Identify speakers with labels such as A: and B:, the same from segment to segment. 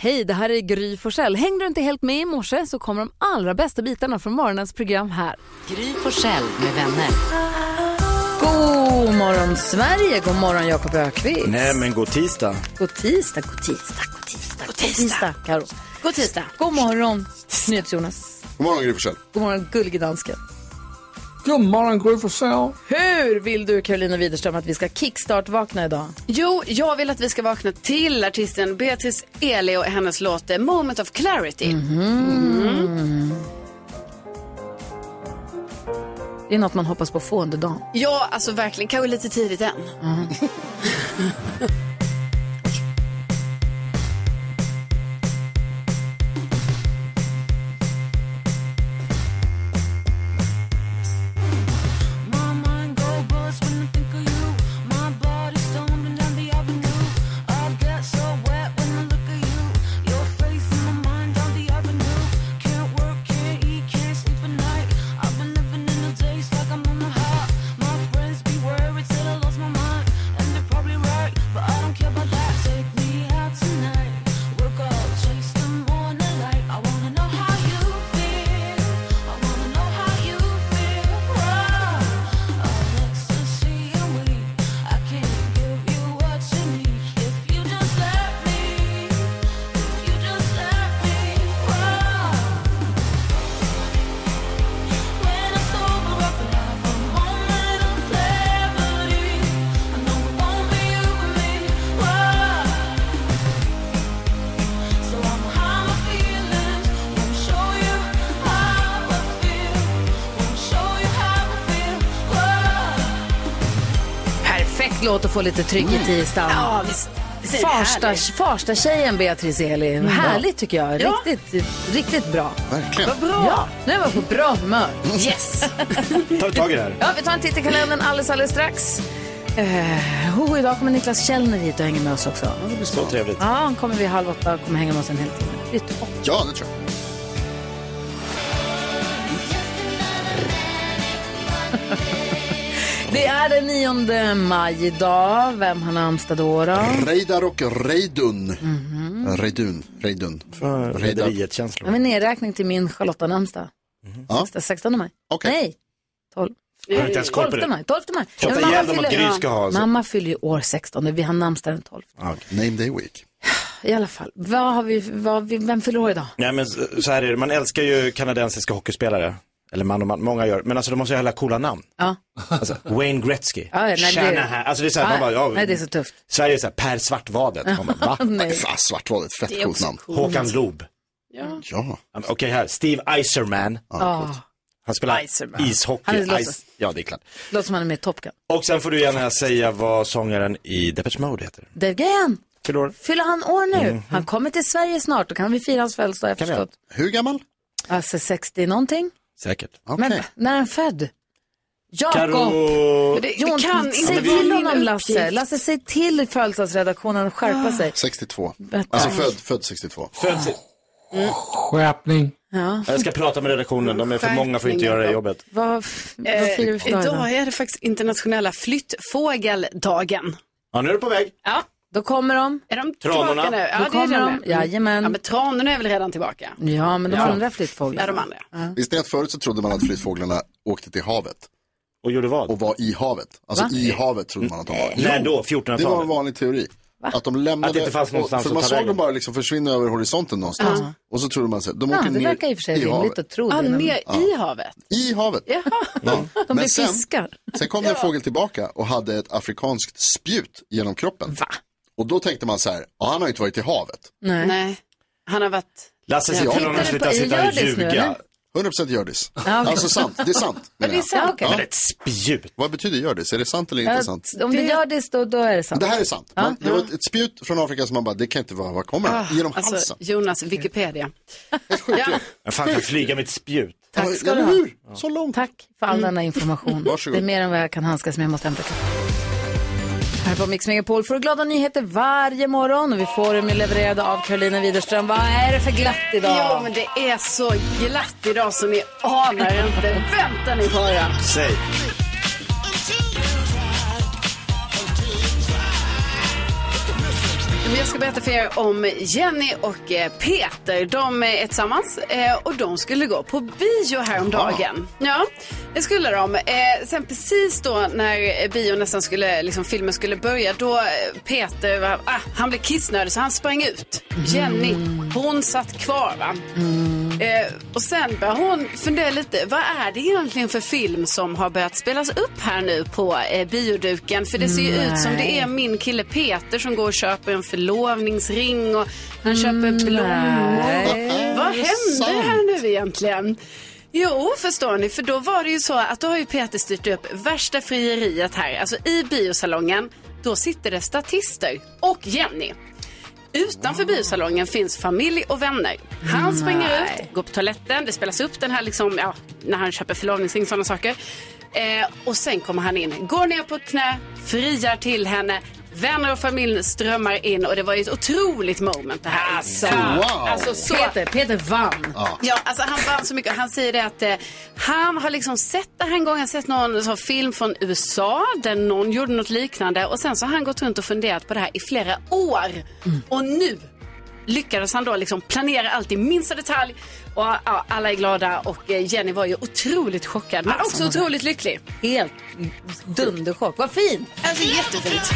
A: Hej, det här är Gry Forssell. Hängde du inte helt med i morse så kommer de allra bästa bitarna från morgonens program här.
B: Gry Forssell med vänner.
A: God morgon Sverige, god morgon Jakob Ökvist.
C: Nej men god tisdag.
A: God tisdag, god tisdag, god tisdag, god tisdag. Karo. God tisdag. God morgon NyhetsJonas.
D: God morgon Gry Forssell.
A: God morgon gullige dansken.
E: God morgon Gry Forssell.
A: Hur vill du Carolina Widerström att vi ska kickstart-vakna idag?
F: Jo, jag vill att vi ska vakna till artisten Beatrice Eli och hennes låt eh, Moment of Clarity.
A: Mm. Det är något man hoppas på att få under dagen.
F: Ja, alltså verkligen. Kanske lite tidigt än.
A: Perfekt låt att få lite trygghet i stan.
F: Ja, visst. Visst är det
A: Farsta,
F: härligt?
A: farsta tjejen Beatrice Eli. Härligt tycker jag.
F: Ja.
A: Riktigt, riktigt bra.
D: Verkligen.
A: Bra. Ja, nu var jag på bra humör.
F: Yes.
C: Tar vi tag i det här?
A: Ja, vi tar en titt i kalendern alldeles, alldeles strax. Eh, oh, idag kommer Niklas Källner hit och hänger med oss också. Ja,
C: Det blir så trevligt.
A: han kommer vid halv åtta och kommer hänga med oss en hel timme. Det är topp.
D: Ja, det tror jag.
A: Det är den 9 maj idag. Vem har namnsdag då? då?
D: Reidar och Reidun.
A: Mhm.
D: Reidun. Reidun.
C: För Rederiet känslor.
A: Jag vill nedräkning till min Charlotta namnsdag.
D: Ja.
A: 16 maj.
D: Okej.
A: Nej, 12.
C: Jag har inte ens koll på
A: 12
C: det.
A: maj. 12 maj.
C: Tjata
A: Men mamma
C: ihjäl dem att
A: fyller-
C: Gry ska ha. alltså. Så.
A: Mamma fyller ju år 16 vi har namnsdag den 12.
C: Ja, okej.
D: Name Day Week.
A: I alla fall, vad har vi, vad, vi- vem fyller år idag?
C: Nej men så så här är det, man älskar ju kanadensiska hockeyspelare. Eller man och man, många gör. Men alltså de måste ju ha alla coola namn.
A: Ja.
C: Alltså, Wayne Gretzky,
A: Ja, nej, det-
C: Shanahan. Alltså det är så här, man bara, ja,
A: Nej, det är så tufft.
C: Sverige är så här, Per Svartvadet. Man bara, va?
A: Nej.
D: Fan, Svartvalet. Fett coolt namn.
C: Håkan Loob.
D: Ja.
C: Ja, Okej här, Steve Iserman.
A: Ah,
C: Han spelar
A: Iserman. Han
C: ishockey.
A: är låtsas.
C: Is... Ja, det är klart.
A: låter som han är med i Top Gun.
C: Och sen får du gärna säga vad sångaren i Depeche Mode heter.
A: Dave Gahan,
C: Fyller år.
A: fyller han år nu? Han kommer till Sverige snart, då kan vi fira hans födelsedag, jag
C: Kan vi
A: förstått.
D: Hur gammal?
A: Alltså 60 någonting.
C: Säkert.
D: Okej.
A: Men när är han född? Jakob!
C: Karo...
F: Det,
A: Jon,
F: det kan inte
A: säg
F: vara
A: till
F: min
A: honom Lasse.
F: uppgift. Ah.
A: Lasse, säg till födelsedagsredaktionen att skärpa sig.
D: 62.
A: Vänta.
D: Alltså född, född 62.
C: Föds...
E: Skärpning.
C: Jag ska prata med redaktionen, de är för många för att inte göra det jobbet.
A: Vad, f- vad firar vi
F: Eh,
A: för dag idag?
F: idag är det faktiskt internationella flyttfågeldagen.
C: Ja, nu är du på väg.
F: Ja,
A: Då kommer de.
F: är de
C: Tranorna.
F: tillbaka nu?
A: Då
F: Ja, det
A: kommer
F: är
A: de.
F: de.
A: Jajamän.
F: Ja, men tranorna är väl redan tillbaka?
A: Ja, men de
C: Ja.
A: andra
F: Ja, Ah, de
A: flyttfåglarna.
F: andra.
D: Visst är att förut så trodde man att flyttfåglarna åkte till havet
C: Och gjorde vad?
D: och var i havet. Alltså i havet trodde man att de var.
C: När då?
D: Det var en
C: 1400-talet?
D: vanlig teori. Att de lämnade,
C: Att det inte fanns någonstans
D: för
C: att
D: man
C: ta
D: såg
C: vägen.
D: dem bara liksom försvinna över horisonten någonstans. Och så trodde man sig, de
A: Ja,
D: åker
A: det
D: ner
A: verkar i och för sig rimligt
D: havet.
A: att tro
F: Ja,
A: det. när man-
F: ner i havet.
D: I havet. Ja.
A: De blir
D: Men sen,
A: fiskar.
D: sen kom det en fågel tillbaka och hade ett afrikanskt spjut genom kroppen. Och då tänkte man så här, ja, han har ju inte varit i havet.
A: Nej.
F: Nej, han har varit...
C: Lasse, se till
D: Tittar
C: honom att
A: du
C: sluta
A: på-
C: sitta
A: gör
C: och
A: det nu,
C: ljuga.
A: eller?
D: 100% gördis.
A: Ja, okej.
D: Alltså sant, det är sant. menar jag.
A: Ja, okej.
C: Men ett spjut.
D: Vad betyder gördis? Är det sant eller inte sant?
A: Om det gör det, då, då är det sant.
D: Det här är sant. Man, det var ett, ett spjut från Afrika som man bara, det kan inte vara, var kommer det? Genom
F: Alltså,
D: halsen.
F: Jonas Wikipedia.
D: Helt sjukt ju.
C: Men fan kan flyga med ett spjut?
A: Tack ska
D: Ja,
A: du
D: men
A: ha.
D: hur? Så långt.
A: Tack för all
F: Mm.
A: denna information.
D: Varsågod.
A: Det är mer än vad jag kan handskas med. Jag måste hämta kaffe. Här på Mix Megapol får du glada nyheter varje morgon och vi får dem ju levererade av Karolina Widerström. Vad är det för glatt idag?
F: Ja, men det är så glatt idag som ni anar inte. Vänta ni bara.
C: Säg.
F: Men Jag ska berätta för er om Jenny och eh, Peter. De eh, är tillsammans eh, och de skulle gå på bio häromdagen. Ja, det skulle de. Eh, Sen precis då när eh, bio nästan skulle, liksom filmen skulle börja, då eh, Peter, var, ah, han blev kissnödig så han sprang ut. Jenny, hon satt kvar va. Eh, och sen började hon fundera lite, vad är det egentligen för film som har börjat spelas upp här nu på eh, bioduken? För det ser ju ut som det är min kille Peter som går och köper en förlovningsring och han köper blommor. Vad händer här nu egentligen? Jo, förstår ni, för då var det ju så att då har ju Peter styrt upp värsta frieriet här. Alltså i biosalongen, då sitter det statister och Jenny. Utanför biosalongen finns familj och vänner. Han springer ut, går på toaletten, det spelas upp den här liksom, ja, när han köper förlovningsring sådana saker. Eh, och sen kommer han in, går ner på ett knä, friar till henne. Vänner och familj strömmar in och det var ju ett otroligt moment det här. Alltså,
D: Wow.
F: alltså så
A: Peter, Peter vann.
F: Ja, alltså han vann så mycket. Han säger det att eh, han har liksom sett det här en gång. Han har sett någon sån film från USA där någon gjorde något liknande. Och sen så har han gått runt och funderat på det här i flera år.
A: Mm.
F: Och nu lyckades han då liksom planera allt i minsta detalj. Och ja, alla är glada och eh, Jenny var ju otroligt chockad men också otroligt lycklig.
A: Helt dunderchock. Vad fint.
F: Alltså jättefint.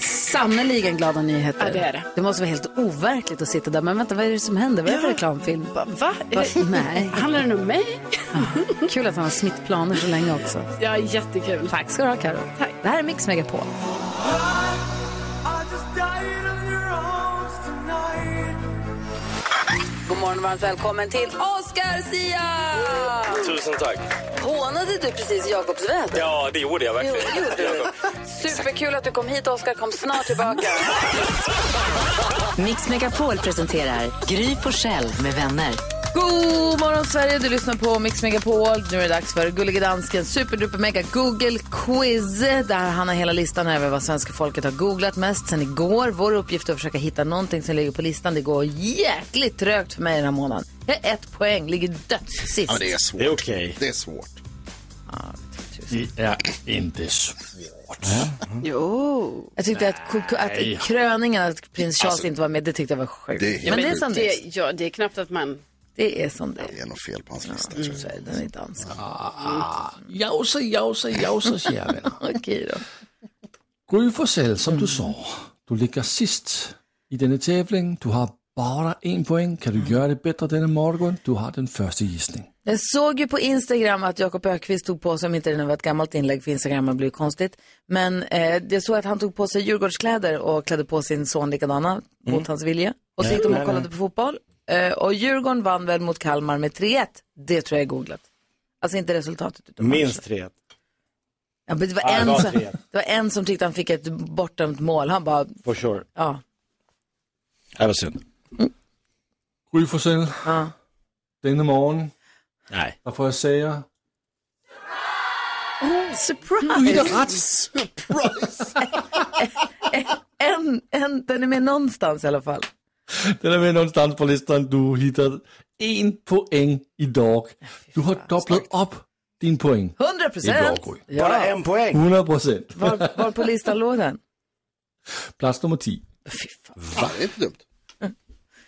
A: Sannerligen glada nyheter.
F: Ja, det är det.
A: det måste vara helt overkligt att sitta där. Men vänta, vad är det som händer? Vad är det för reklamfilm?
F: Va?
A: Va? Nej.
F: Handlar det om mig?
A: Kul att han har smittplaner så länge också.
F: Ja, jättekul.
A: Tack ska du ha, Karo.
F: Tack.
A: Det här är Mix Megapol. God morgon och varmt välkommen till Oscar Sia!
G: Tusen tack.
A: Hånade du precis Jakobs vän?
G: Ja, det gjorde jag
A: Jo,
G: verkligen.
A: det gjorde du. Superkul att du kom hit, Oskar. Kom snart tillbaka.
B: Mix Megapol presenterar Gry Forssell med vänner.
A: God morgon, Sverige. Du lyssnar på Mix Megapol. Nu är det dags för Gullige Dansken superduper mega Google quiz. Där han har hela listan över vad svenska folket har googlat mest sen igår. Vår uppgift är att försöka hitta någonting som ligger på listan. Det går jäkligt trögt för mig den här månaden. Jag är ett poäng, ligger dödssist.
D: Ja, men det är svårt.
C: Det är okej.
D: Det är svårt.
E: Det är inte svårt.
F: Jo.
A: Jag tyckte att, ko- att kröningen, att prins Charles inte var med, det tyckte jag var sjukt.
D: Alltså- det är helt
A: men det är som det
F: Det,
A: är.
F: ja, det är knappt att man...
A: Det är som det är.
D: Det är nog fel på hans lista. tror
A: Så är den är dansk.
E: Jausa, jausa, jausa, kära vänner.
A: Okej då.
E: Gry Forssell, som du sa, du ligger sist i denna tävling. Du har bara en poäng. Kan du göra det bättre denna morgon? Du har den första gissningen.
A: Jag såg ju på Instagram att Jakob Ökvist tog på sig, om inte det nu var ett gammalt inlägg för Instagram, det blir ju konstigt. Men eh, jag såg att han tog på sig Djurgårdskläder och klädde på sin son likadana
C: Mm.
A: mot hans vilja. Och så gick de och kollade på fotboll. Eh, och Djurgården vann väl mot Kalmar med 3-1. Det tror jag är googlat. Alltså inte resultatet. Utan
C: Minst tre.
A: Ja, men det, var
C: Ja, det
A: en
C: var
A: som,
C: 3-1.
A: det var en som tyckte han fick ett bortdömt mål. Han bara,
C: For sure.
A: ja.
C: Det var synd.
E: Gry Forssell,
A: ja.
E: denna morgon,
C: Nej.
E: där får jag säga
A: Surprise!
D: jag. Surprise!
A: Mm. En, en, den är med någonstans i alla fall.
E: Den är med någonstans på listan. Du hittar en poäng idag. Du har dubblat upp din poäng.
A: 100 procent!
E: Gry.
C: Bara
A: Ja. Mm.
C: en poäng.
E: 100 procent.
A: Var, var på listan låg den?
E: Plats nummer 10.
D: Fan, det är inte dumt.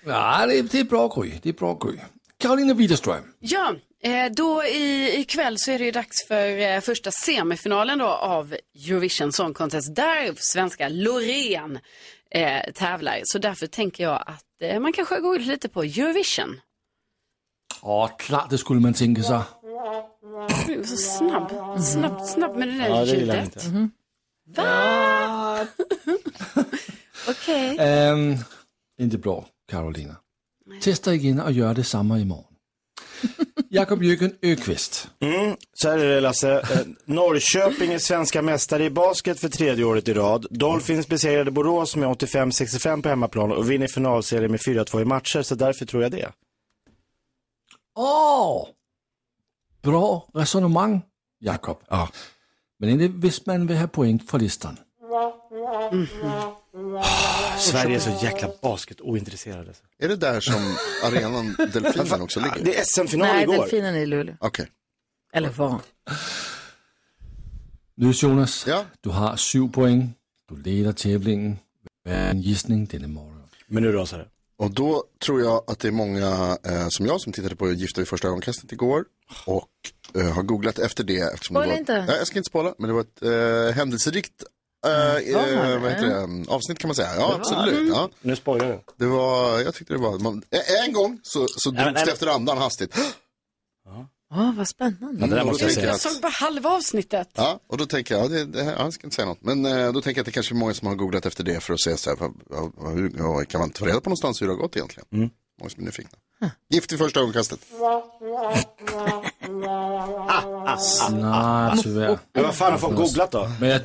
E: Ja, det, det är bra Gry. Det är bra Gry. Karolina Widerström.
F: Ja, eh, då i, ikväll så är det ju dags för eh, första semifinalen då av Eurovision Song Contest där svenska Loreen eh, tävlar. Så därför tänker jag att eh, man kanske går lite på Eurovision.
E: Ja, klart det skulle man tänka sig.
F: Du är Mm, så snabb, snabb, snabb med det där
C: Ja, det gillar jag
F: ljudet.
C: inte.
F: Okej.
E: Ehm, inte bra Karolina. Testa igen och gör detsamma imorgon. Jakob Jürgen Öqvist.
C: Så här är det Lasse. Eh, Norrköping är svenska mästare i basket för tredje året i rad. Dolphins besegrade Borås med 85-65 på hemmaplan och vinner finalserien med 4-2 i matcher, så därför tror jag det.
E: Åh! Bra resonemang, Jakob.
C: Ja.
E: Men inte visst man vill ha poäng för listan.
C: Sverige är så jäkla basketointresserade.
D: Är det där som arenan Delfinen också
C: Ah,
D: ligger?
C: Det är SM-final
A: Nej,
C: igår.
A: delfinen är i Luleå.
D: Okej.
A: Eller var.
E: Nils Jonas,
D: Ja.
E: du har syv poäng. Du leder tävlingen. Vad är en gissning denna morgon?
C: Men nu rasar det.
D: Och då tror jag att det är många eh, som jag som tittade på Gifta vid första ögonkastet igår och eh, har googlat efter det. eftersom det
A: Spoila
D: var,
A: inte.
D: Nej, jag ska inte spoila, men det var ett eh, händelserikt eh, eh, vad heter det? Mm. avsnitt kan man säga. Ja, absolut. Ja.
C: Nu spoilar du.
D: Det var, jag tyckte det var, man, en- en gång så, så
C: men-
D: drogs det
C: nej,
D: efter andan hastigt. Mm,
A: Åh, vad spännande.
C: Ja, det där
D: Och då
C: måste jag
D: tänker
C: säga.
F: Jag såg bara halva avsnittet.
D: Ja, och då tänker jag, ja, det, det här, ja, jag ska inte säga något. Men eh, då tänker jag att det kanske är många som har googlat efter det för att se så här, vad, vad, vad, hur, vad, kan man ta reda på någonstans hur det har gått egentligen?
C: Mm.
D: Många som är nyfikna. Gift i första ögonkastet.
E: Nej, tyvärr.
C: Men vad fan har folk googlat då?
E: Men jag,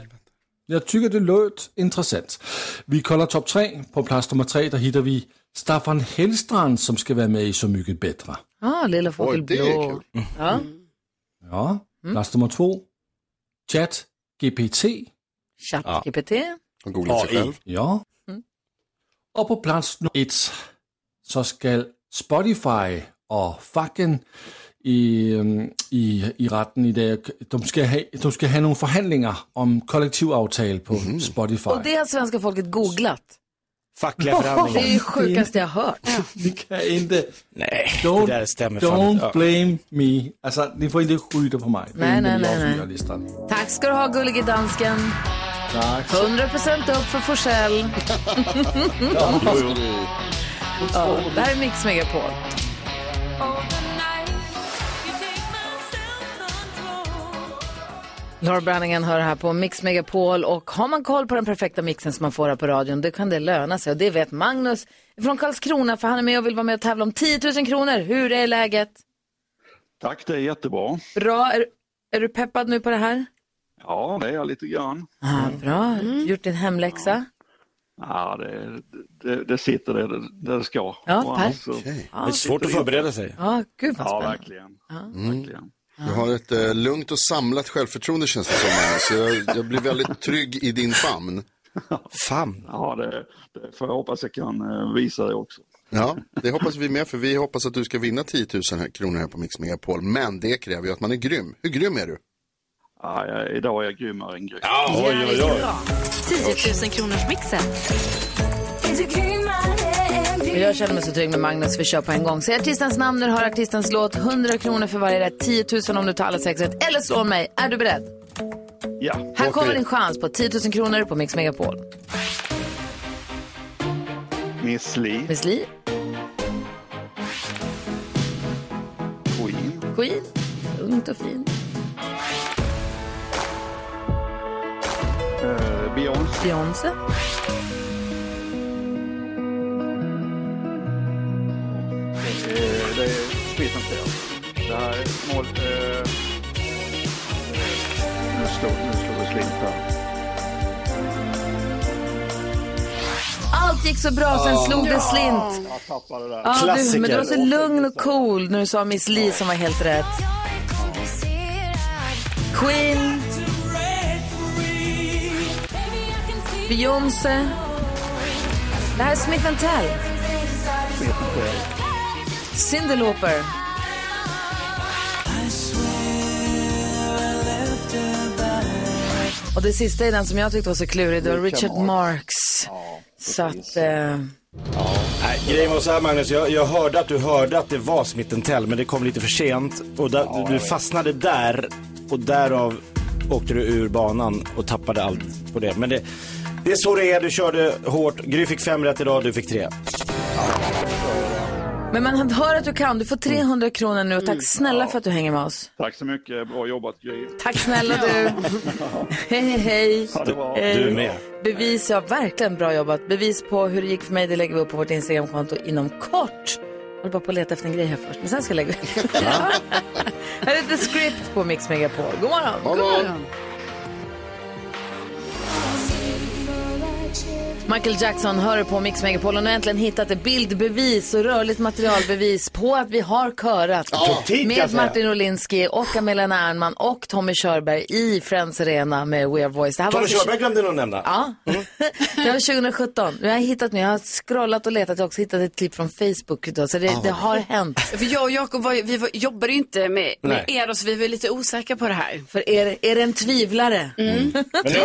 E: jag tycker det låt intressant. Vi kollar topp tre. På plats nummer tre där hittar vi Staffan Hellstrand som ska vara med i Så mycket bättre.
A: Ja, Lilla Fågel
D: Oj, det är
A: Blå. Ja.
E: Ja, plats nummer två. Chat GPT.
A: ChatGPT.
D: Och googlat sig
C: AI.
D: själv.
E: Ja. Och på plats nummer ett så ska Spotify och facken i, øhm, i, i retten i dag, de ska, ha, de ska ha några förhandlingar om kollektivavtal på Spotify.
A: Och det har svenska folket googlat.
C: Fackliga
A: Det är
C: förhandlingar.
A: det sjukaste jag har hört.
E: Ni kan inte...
C: Nej,
E: Don't,
C: det där stämmer fan
E: don't
C: inte. Ja.
E: blame me. Alltså, ni får inte skjuta på mig. Det är
A: Nej,
E: inte
A: nej,
E: jag
A: nej,
E: som
A: nej.
E: gör listan.
A: Tack ska du ha, gullige dansken.
E: Tack.
A: 100% upp för Forsell. ja, det här är Mix Megapol. Laura Branningen hör här på Mix Megapol och har man koll på den perfekta mixen som man får här på radion, då kan det löna sig. Och det vet Magnus från Karlskrona, för han är med och vill vara med och tävla om 10 000 kronor. Hur är läget?
G: Tack, det är jättebra.
A: Bra? Är, är du peppad nu på det här?
G: Ja, det är jag lite grann.
A: Ah, bra, gjort din hemläxa.
G: Ja, det, det, det sitter där det, där det ska.
A: Ja,
G: Och
A: Per.
G: annars så-
C: Det är svårt att förbereda sig.
A: Ja, gud vad
G: Ja,
A: spännande. Mm.
G: verkligen. verkligen.
D: Du har ett eh, lugnt och samlat självförtroende känns det som. här. Så jag, jag blir väldigt trygg i din famn.
C: Fan.
G: Ja, det, det får jag hoppas jag kan eh, visa det också.
D: Ja, det hoppas vi med för vi hoppas att du ska vinna 10 000 här- kronor här på Mix Megapol. Men det kräver ju att man är grym. Hur grym är du?
G: Ja, jag, idag är jag grymmare än grym.
B: 10 000 kronors mixen.
A: Men Jag känner mig så trygg med Magnus, vi kör på en gång. Säg artistens namn när du hör artistens låt. 100 kronor för varje rätt, 10 000 om du tar alla sex rätt. Eller slå mig, är du beredd?
G: Ja,
A: Här
D: Okej.
A: kommer din chans på 10 000 kronor på Mix Megapol.
G: Miss Li,
A: Miss Li,
G: Queen,
A: Queen, ungt och fint.
G: eh, Beyoncé,
A: Beyoncé,
G: eh, det är Spit and Tell. Det här är mål... Eh, eh, nu slog nu slog det slint här.
A: allt gick så bra, sen slog det slint.
G: Jag tappade det där.
A: Ja, du, men
C: Klassiker.
A: du var så lugn och cool när du sa Miss Li som var helt rätt. Queen, Beyoncé. Det här är Smith Tell. Cyndi Lauper. Och det sista är den som jag tyckte var så klurig. Det var Richard Marx. Så att... Eh,
C: Nej, grejen var så här Magnus, jag, jag hörde att du hörde att det var Smith Tell, men det kom lite för sent. Och där, du, du fastnade där och därav åkte du ur banan och tappade allt på det. Men det, det är så det är, du körde hårt. Gry fick fem rätt idag, du fick tre.
A: Men man hör att du kan. Du får 300 kronor nu och tack snälla för att du hänger med oss.
G: Tack så mycket. Bra jobbat, Gry.
A: Tack snälla du. hej, hej, hej.
G: Ja, det var-
A: Hej.
C: Du är med.
A: Bevis, ja verkligen bra jobbat. Bevis på hur det gick för mig, det lägger vi upp på vårt Instagramkonto inom kort. Jag håller bara på att leta efter en grej här först, men sen ska jag lägga upp. här är The Script på Mix Megapol. God morgon.
D: Hallå!
A: Michael Jackson hör på Mix Megapol och nu har äntligen hittat ett bildbevis och rörligt materialbevis på att vi har körat
C: Kritik,
A: med
C: alltså.
A: Martin Olinsky och Amelena Ernman och Tommy Körberg i Friends Arena med We Are Voice. Det här
C: Tommy
A: alltså-
C: Körberg glömde någon nämna.
A: Ja, det var 2017. Nu har jag hittat nu, jag har scrollat och letat, jag har också hittat ett klipp från Facebook då, så det, det har hänt.
F: För jag och Jakob var, ju- vi var, jobbade ju inte med, med er och så vi var ju lite osäkra på det här.
A: För är, är det en tvivlare?
C: Men nu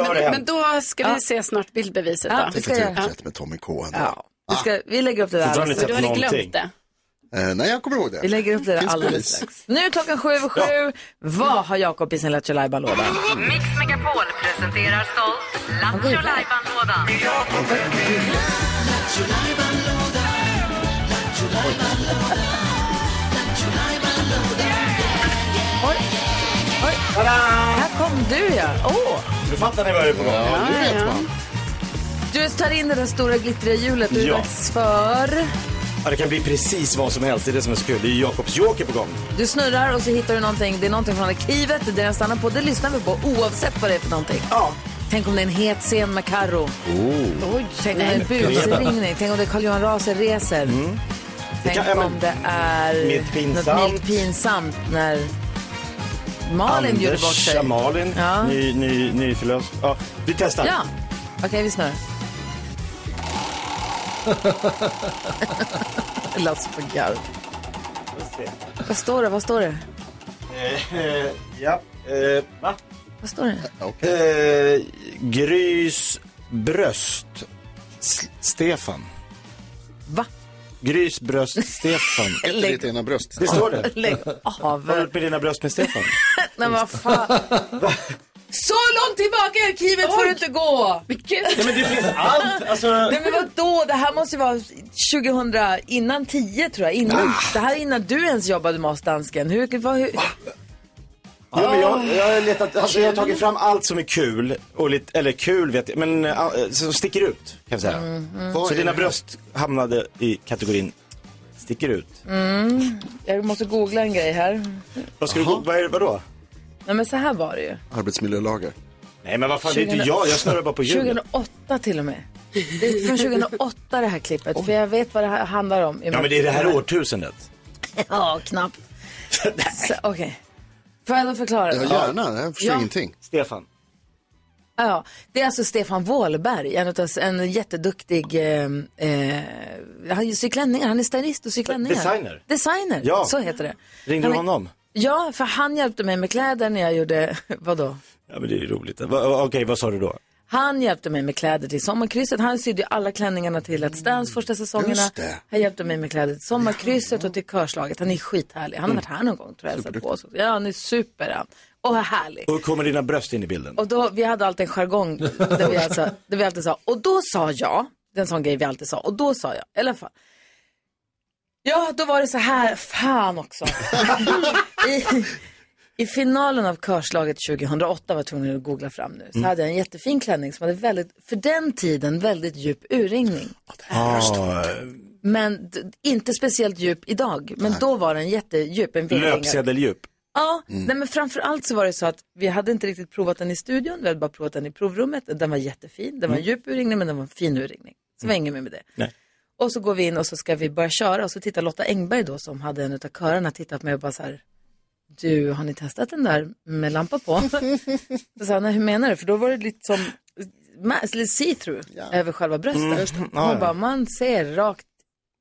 C: har det
F: Men
C: hänt.
F: då ska vi se snart bildbeviset
A: Ja,
F: då.
A: vi
D: Det
A: ska
D: är
A: göra.
D: turtätt med Tommy K. ändå.
A: Ja. Vi, ska, vi lägger upp det där
C: Fortfarande
A: alldeles
F: För du hade
C: Någonting.
F: glömt det.
D: Eh, nej, jag kommer ihåg
A: Vi
D: det.
A: lägger upp det där
D: Finns
A: alldeles
D: bevis.
A: strax. Nu är klockan sju över sju. Vad har Jakob i sin Lattjo Lajban-låda?
B: Mix Megapol presenterar stolt Lattjo Lajban-lådan.
A: Här kom du ja. Åh!
C: Nu fattar ni vad det är på gång.
D: Ja, nu vet man.
A: Du tar in det där stora glittriga hjulet och det är
C: Ja.
A: dags för...
C: Ja, det kan bli precis vad som helst. Det är det som är så kul. Det är Jakobs joker på gång.
A: Du snurrar och så hittar du någonting. Det är någonting från arkivet, det är det den stannar på. Det lyssnar vi på oavsett vad det är för någonting.
C: Ja.
A: Tänk om det är en het scen med Carro.
C: Oh.
A: Oj, tänk om det är en busringning. Tänk om det är Carl-Johan Raser reser. Tänk
C: Mm. Det kan- ja, men-
A: om det är
C: Milt pinsamt.
A: något milt pinsamt när Malin gjorde bort
C: Anders,
A: sig.
C: ja, Malin,
A: Ja.
C: ny, ny, nyförlöst. Ja, vi testar.
A: Ja, okej vi snurrar. Det lät som på garv. Vad står det? Vad står det?
C: Eh, eh, ja. Eh, va?
A: Vad står det?
D: Okej.
C: Eh, Grys bröst. S- Stefan.
A: Va?
C: Grys bröst Stefan.
D: Efter ditt ena bröst.
C: Det står det.
A: Lägg
C: Har du
A: av.
C: varit med dina bröst med Stefan?
A: Nej, vad fan. Så långt tillbaka i arkivet får du inte gå.
C: Nej men det finns allt. Alltså,
A: Nej men vadå, det här måste ju vara 2000, innan 10 tror jag. Innan,
C: Ah.
A: Det här är innan du ens jobbade med oss dansken. Hur, vad, hur,
C: Jo, men jag, jag, har letat, alltså, jag har tagit fram allt som är kul, och lite, eller kul vet jag, men äh, som sticker ut kan jag säga. Så dina bröst hamnade i kategorin sticker ut.
A: jag måste googla en grej här.
C: Vad ska du gå, vad är, vadå?
A: Nej men så här var det ju.
D: Arbetsmiljölagar.
C: Nej men vad fan, det är inte jag, jag snurrar bara på hjulet.
A: 2008 till och med. Det är från 2008 det här klippet. För jag vet vad det här handlar om.
C: Ja men det är det här årtusendet.
A: Ja, knappt. Så, Okej. Får jag då förklara?
D: Ja, gärna. Jag förstår
A: Ja.
D: ingenting.
C: Stefan.
A: Ja, det är alltså Stefan Wåhlberg, en, utav, en jätteduktig, eh, eh, han syr klänningar, han är stylist och syr klänningar.
C: Designer.
A: Designer,
C: Ja.
A: så heter det.
C: Ringde du
A: Han är-
C: honom?
A: Ja, för han hjälpte mig med kläder när jag gjorde, vadå?
C: Ja men det är ju roligt. Va, va, Okej, vad sa du då?
A: Han hjälpte mig med kläder till sommarkrysset. Han sydde ju alla klänningarna till Let's Dance första säsongerna.
D: Just det.
A: Han hjälpte mig med kläder till sommarkrysset och till körslaget. Han är skithärlig. Han har varit här någon gång tror jag. hälsat På oss. Ja, han är super han. Och härlig.
C: Och hur kommer dina bröst in i bilden?
A: Och då, vi hade alltid en jargong där vi, alltså, där vi alltid sa, och då sa jag, det är en sån grej vi alltid sa, och då sa jag, i alla fall. Ja, då var det så här, fan också. I, I finalen av körslaget 2008 var jag tvungen att googla fram nu, så hade jag en jättefin klänning som hade väldigt, för den tiden, väldigt djup urringning.
C: Ah,
A: Men d- inte speciellt djup idag, men då var den jättedjup. En virringa.
C: löpsedeldjup.
A: Ja,
C: Mm.
A: nej, men framför allt så var det så att vi hade inte riktigt provat den i studion, vi hade bara provat den i provrummet. Den var jättefin, den var en djup urringning men den var en fin urringning. Så det var inget mer med det.
C: Mm. Nej.
A: Och så går vi in och så ska vi börja köra och så tittar Lotta Engberg då som hade en utav körerna tittat på mig och bara så här, du har ni testat den där med lampa på? så sa jag, "Nej, hur menar du? För då var det lite som ma- lite see-through över själva bröstet. Mm.
C: ja, ja.
A: bara, man ser rakt,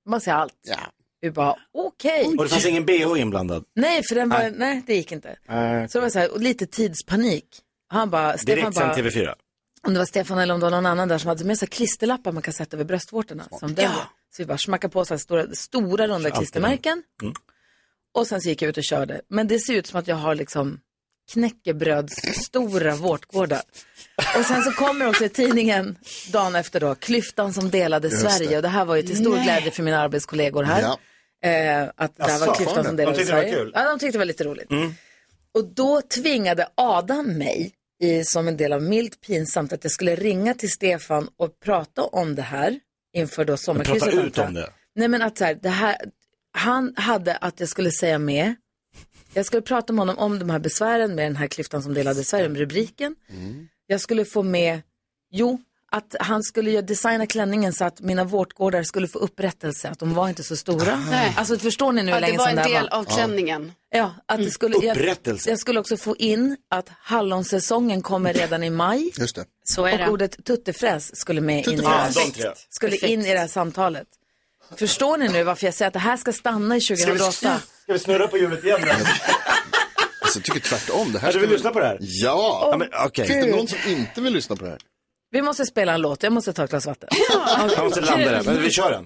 A: man ser allt.
D: Ja.
A: Vi bara, okej.
C: Och det fanns ingen bh inblandad.
A: Nej, för den var, nej. det gick inte. Så det var så här, och lite tidspanik. Han bara, Stefan
C: Direkt sen
A: bara,
C: TV4.
A: om det var Stefan eller om det var någon annan där som hade med sig klisterlappar man kan sätta över bröstvårtorna. Som döljer. Så vi bara smackade på så här stora, stora runda klistermärken.
C: Mm.
A: Och sen så gick jag ut och körde. Men det ser ut som att jag har liksom knäckebrödsstora vårtgårdar. Och sen så kommer också i tidningen dagen efter då, klyftan som delade Sverige. Och det här var ju till stor glädje för mina arbetskollegor här.
D: Ja.
A: Eh, att det här var
C: Jaså,
A: klyftan som
C: de
A: delade
C: tyckte det var
A: Sverige.
C: kul. Mm.
A: Ja, de tyckte det var lite roligt. Och då tvingade Adam mig, i, som en del av milt pinsamt, att jag skulle ringa till Stefan och prata om det här inför då sommarkrysset.
C: Prata ut
A: antar jag.
C: om det.
A: Nej men att så här, det här, han hade att jag skulle säga med. Jag skulle prata med honom om de här besvären med den här klyftan som delade Sverige, med rubriken. Jag skulle få med, jo, att han skulle ju designa klänningen så att mina vårtgårdar skulle få upprättelse, att de var inte så stora.
F: Nej.
A: Alltså förstår ni nu hur
F: Ja, det
A: länge
F: var
A: sedan
F: en
A: det här
F: del
A: var?
F: av klänningen.
A: Ja, att det skulle, jag,
C: Upprättelse.
A: jag skulle också få in att hallonsäsongen kommer redan i maj
D: Just det.
B: Så är
A: och
B: det.
A: ordet tuttefräs skulle med in i, det
C: Ja,
A: här,
C: Ah, de tre.
A: skulle in i det här samtalet. Förstår ni nu varför jag säger att det här ska stanna i
C: Ska vi,
A: 2008?
C: ska vi snurra på hjulet igen? då?
D: Alltså, jag tycker tvärtom. Det här
C: Hade vi
D: ska vi-
C: lyssnat på det här?
D: Ja.
C: men okej.
D: Finns det någon som inte vill lyssna på det här?
A: Vi måste spela en låt, jag måste ta ett glas vatten.
C: Jag måste landa där, men vi kör den.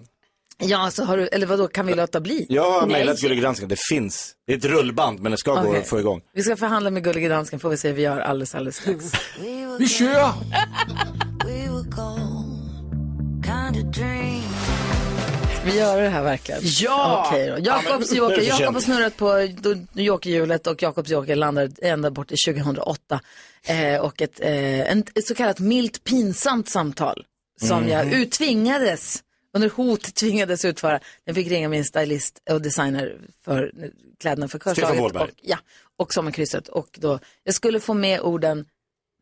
A: Ja, så har du, eller vadå, kan vi låta bli?
C: Jag har mejlat Gullig Dansken, det finns. Det är ett rullband, men det ska gå
A: Okej.
C: att få igång.
A: Vi ska förhandla med Gullige Dansken får vi se hur vi gör alldeles, alldeles strax.
E: Vi kör!
A: Vi gör det här verkligen.
F: Ja!
A: Okej då. Jakobs joker.
C: för
A: Jakob
C: sent.
A: har snurrat på do- jokerhjulet och Jakobs joker landar ända bort i 2008. Eh, och ett, eh, en, ett så kallat milt pinsamt samtal som jag utvingades, under hot tvingades utföra. Jag fick ringa min stylist och designer för kläderna för
C: Stefan
A: körslaget.
C: Wåhlberg.
A: Och, ja, och sommarkrysset. Och då, jag skulle få med orden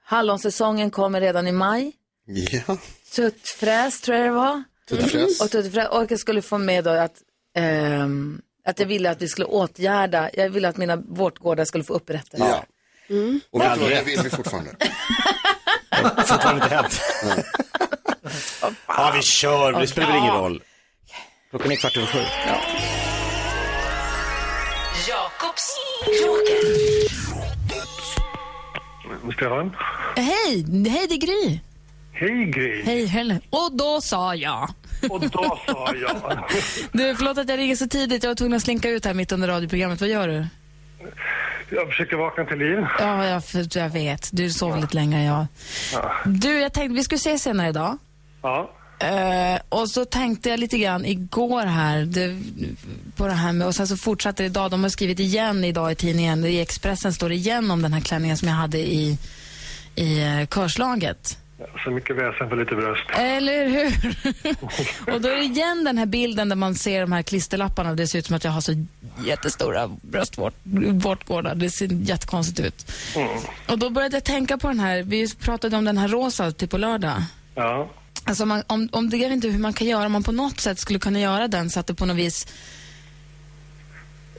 A: Hallonsäsongen kommer redan i maj.
D: Ja.
A: Tuttfräs tror jag det var.
D: Tuttfräs.
A: Och, tuttfrä- och jag skulle få med då att, ehm, att jag ville att vi skulle åtgärda, jag ville att mina vårtgårdar skulle få upprättelse.
D: Ja. Och vet du vad, det vill vi fortfarande.
C: Fortfarande inte hänt. ja, vi kör. Det spelar väl ingen roll. Klockan är kvart över sju.
B: Jakobs joker.
H: Stefan?
I: Hej, hej det är Gry.
H: Hej Gry!
I: Hej Helle. Och då sa jag.
H: Och då sa jag,
I: Du, förlåt att jag ringer så tidigt. Jag var tvungen att slinka ut här mitt under radioprogrammet. Vad gör du?
H: jag försöker vakna till liv.
I: Ja, jag, för- jag vet. Du sov lite länge, jag. Du, jag tänkte, vi skulle ses senare idag.
H: Ja,
I: Eh, och så tänkte jag lite grann igår här det, på det här med, och sen så fortsatte det idag. De har skrivit igen idag i tidningen, i Expressen står det igen om den här klänningen som jag hade i, i eh, körslaget.
H: så mycket väsen för lite bröst.
I: Eller hur? och då är det igen den här bilden där man ser de här klisterlapparna och det ser ut som att jag har så jättestora bröstvårtgårdar. Det ser jättekonstigt ut. Och då började jag tänka på den här, vi pratade om den här rosa till på lördag.
H: Ja,
I: Alltså man, om, om det, jag vet inte hur man kan göra, om man på något sätt skulle kunna göra den så att det på något vis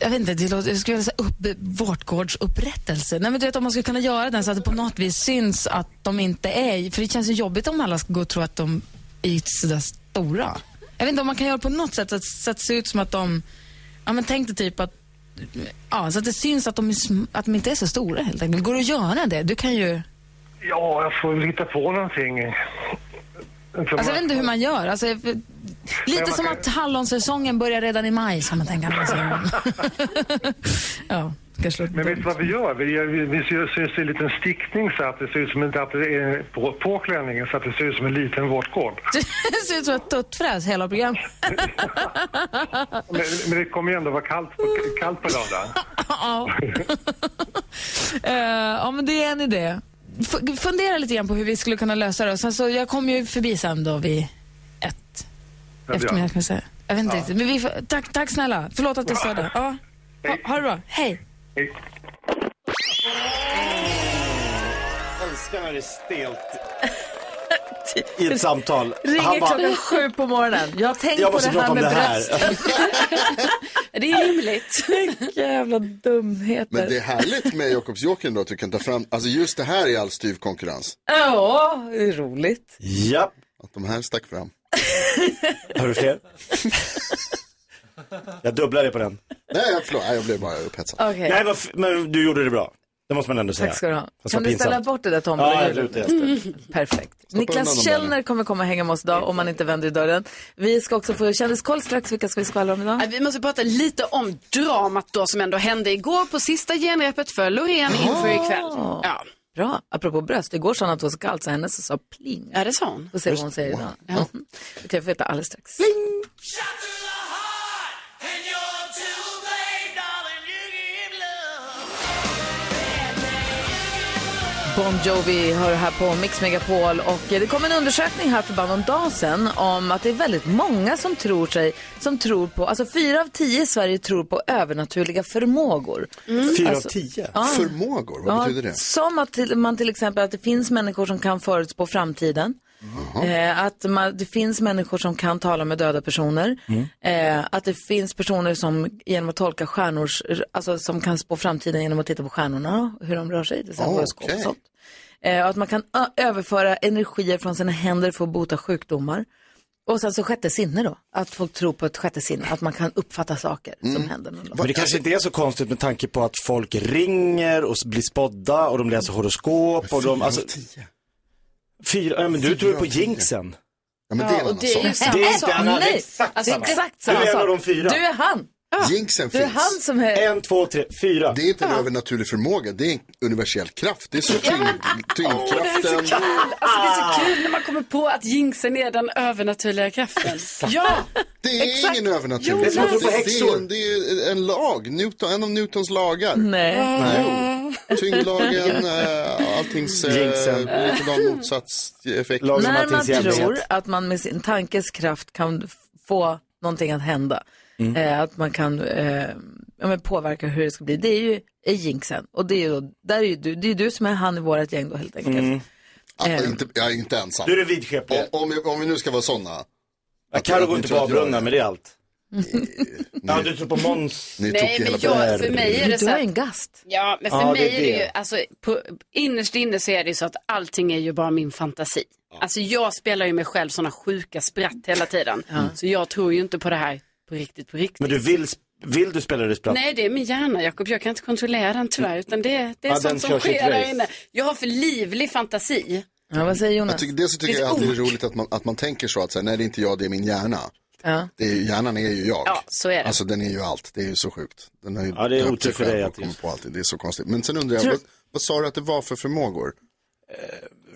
I: jag vet inte, det låter, jag skulle vilja säga upp, vårtgårdsupprättelse. Nej men du vet om man skulle kunna göra den så att det på något vis syns att de inte är, för det känns ju jobbigt om alla ska gå och tro att de är sådär stora. Jag vet inte om man kan göra på något sätt så att, så att det ser ut som att de, ja men tänk dig typ att, ja så att det syns att de, är, sm- att de inte är så stora helt enkelt. Går det att göra det? Du kan ju
H: ja jag får väl hitta på någonting.
I: Alltså, jag vet inte hur man gör. Alltså, jag- lite
H: man
I: som
H: kan-
I: att hallonsäsongen börjar redan i maj, som man tänker. Alltså. ja, kanske låter
H: Men vet du
I: dumt.
H: vad vi gör? Vi, gör, vi, vi syr syr en liten stickning så att det ser ut som en, att det är på, på klänningen så att det ser ut som en liten vårtgård.
I: Det ser ut som ett tuttfräs, hela programmet.
H: Men, men det kommer ju ändå vara kallt på, kallt på lördag.
I: Ja. Eh, ja, men det är en idé. F- fundera lite grann på hur vi skulle kunna lösa det. Och Sen så, jag kom ju förbi sen då vid ett
H: Ja, det gör
I: eftermiddag, kan jag säga. Jag vet inte riktigt. Men vi får, tack, tack snälla. Förlåt att jag störde. Ja. Ha, ha det bra. Hej.
H: Hej.
C: Jag älskar när det är stelt. I ett samtal.
A: Ringer
C: Han bara,
A: klockan sju på morgonen. Jag har tänkt
C: jag
A: på
C: måste
A: det här
C: prata om
A: med
C: det här.
A: bröst. Det är rimligt. Jävla dumheter.
D: Men det är härligt med Jakobs Joker då att du kan ta fram, alltså just det här är all styv konkurrens.
A: Ja, det är roligt.
C: Japp.
D: Att de här stack fram.
C: Har du fler? jag dubblar det på den.
D: Nej, jag, förlåt, Nej, jag blev bara upphetsad.
A: Okej,
C: Nej, vad f- men du gjorde det bra. Det måste man ändå säga.
A: tack ska du ha. Mm-hmm.
C: Fast
A: Kan
C: vad
A: du ställa
C: pinsamt.
A: bort det där
C: Ja, jag
A: tombolahjulet?
C: la ut det efter.
A: Perfekt. Niklas
D: undan dem
A: Källner
D: där
A: kommer komma och hänga med oss idag om man inte vänder i dörren. Vi ska också få kändiskoll strax. Vilka ska vi skvallra om idag?
F: Ja, Vi måste prata lite om dramat då som ändå hände igår på sista genrepet för Loreen inför ikväll. Ja,
A: Bra. Apropå bröst, igår sa hon att det var så kallt så hennes sa pling.
F: ja det sa hon.
A: Får se vad hon säger idag. Ja. Det kan jag få veta alldeles strax. Bon Jovi hör här på Mix Megapol och eh, det kom en undersökning här för bara någon dag sedan om att det är väldigt många som tror sig, som tror på, alltså fyra av tio i Sverige tror på övernaturliga förmågor.
C: Fyra av
A: Alltså,
C: tio.
D: Förmågor, vad betyder det?
A: Som att till, man till exempel att det finns människor som kan förutspå framtiden. Eh, att man, det finns människor som kan tala med döda personer. Eh, att det finns personer som genom att tolka stjärnors, alltså som kan spå framtiden genom att titta på stjärnorna, hur de rör sig, det är så här horoskop och
D: Okej.
A: sånt. Eh, och att man kan ö- överföra energier från sina händer för att bota sjukdomar. Och sen så sjätte sinne då, att folk tror på ett sjätte sinne, att man kan uppfatta saker som händer. någon dag.
C: Men det kanske inte är så konstigt med tanke på att folk ringer och s- blir spådda och de läser horoskop och de, alltså, fyra, ja, men du tror ju på jinxen.
D: Ja, men det är en
A: och
D: annan
A: det är ju
D: sak.
A: samma
C: Det är inte
A: sak.
C: en annan, det är
A: Nej,
C: exakt
A: alltså,
C: samma.
A: exakt
C: Du är
A: samma
C: en
A: sak.
C: av de fyra.
A: Du är han.
D: Jinxen
A: Du är
D: finns.
A: han som är...
C: En, två, tre, fyra.
D: Det är inte en övernaturlig förmåga, det är en universell kraft. Det är som tyngd, tyngdkraften.
F: Alltså, det är så kul när man kommer på att jinxen är den övernaturliga kraften. ja,
D: Det är
F: Exakt.
D: ingen övernaturlig
F: Jo,
D: kraft.
C: det är som att tro på
D: det, är
C: häxor.
D: en, det är en lag, Newton, en av Newtons lagar.
A: Nej.
D: Jo. Tyngdlagen, eh, alltings eh,
C: Jinxen.
D: likadan motsatseffekt.
C: Lagen om
A: När man
C: Martins jämlikhet.
A: tror att man med sin tankes kraft kan f- få någonting att hända,
D: Mm.
A: eh, att man kan eh, ja, men påverka hur det ska bli, det är ju är jinxen. Och det är ju, då, där är ju du, det är ju du som är han i vårt gäng då helt enkelt.
D: Ah, inte, jag är inte ensam.
C: Du är den vidskeplige.
D: Om, om, vi- om vi nu ska vara sådana.
C: Ja, Carro går
D: ni
C: inte på
D: tror att jag
C: avbrunnar,
D: är-
C: men det är allt. Ja, du tror på Måns.
D: Ni
F: nej
D: tog
F: men
D: hela
F: jag, för mig är det
A: Du
F: så
A: har
F: här,
A: ju en gast.
F: Ja, men för
C: Ja, det
F: mig
C: är
F: är det
C: det.
F: ju, alltså, på, innerst inne så är det ju så att allting är ju bara min fantasi. Alltså jag spelar ju mig själv sådana sjuka spratt hela tiden. Så jag tror ju inte på det här på riktigt, på riktigt.
C: Men du vill, sp- vill du spela det spratt?
F: Nej, det är min hjärna Jakob. Jag kan inte kontrollera den tyvärr. Utan det, det är
C: Ja, den
F: sånt som
C: kör sitt
F: sker där
C: race.
F: inne. Jag har för livlig fantasi.
A: Ja, vad säger Jonas?
D: Jag tycker, dels så tycker jag alltid det är roligt att man, att man tänker så att så här, nej det är inte jag, det är min hjärna.
A: Ja.
D: Det är, ju- hjärnan är ju jag.
F: Ja, så är det.
D: Alltså den är ju allt, det är ju så sjukt. Den har ju
C: Ja, det är
D: döpt
C: otur
D: sig
C: för
D: själv
C: dig
D: och
C: att det-
D: kommit på allt. Det är så konstigt. Men sen undrar jag,
A: Tror-
D: vad, vad sa du att det var för förmågor?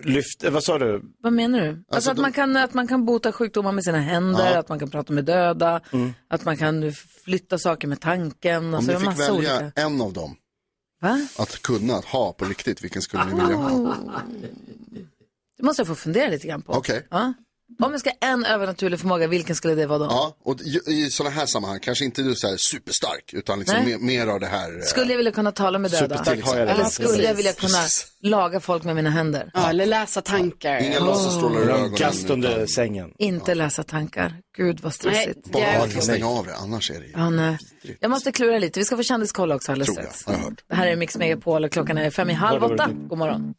C: Lyft, eh, vad sa du?
A: Vad menar du? Alltså, att,
D: de-
A: man kan, att man kan bota sjukdomar med sina händer, att man kan prata med döda, att man kan flytta saker med tanken.
D: Mm. Om
A: Alltså,
D: ni
A: en
D: fick
A: massa
D: välja
A: olika.
D: en av dem
A: Va?
D: att kunna, att ha på riktigt, vilken skulle ni vilja ha?
A: Det måste jag få fundera lite grann på.
D: Okej.
A: Ja. Om jag ska ha en övernaturlig förmåga, vilken skulle det vara då?
D: Ja, och i, i sådana här sammanhang, kanske inte du så här superstark, utan liksom
A: Nej.
D: mer, mer av det här. eh,
A: Skulle jag vilja kunna tala med döda?
C: Superstark har jag
A: Eller
C: redan.
A: skulle jag vilja kunna
D: Precis.
A: laga folk med mina händer?
F: Ja, eller läsa tankar.
D: Inga laserstrålar i ögonen.
C: Kast under sängen.
A: Inte läsa tankar. Gud vad
F: Nej,
A: stressigt.
F: det
D: Bara
F: är,
D: att stänga av det, annars är det ju...
A: Ja, nej. Jag måste klura lite. Vi ska få kändiskoll också alldeles
D: Tror jag.
A: strax.
D: Jag har hört.
A: Det här är Mix Megapol och klockan är fem i halv åtta. God morgon.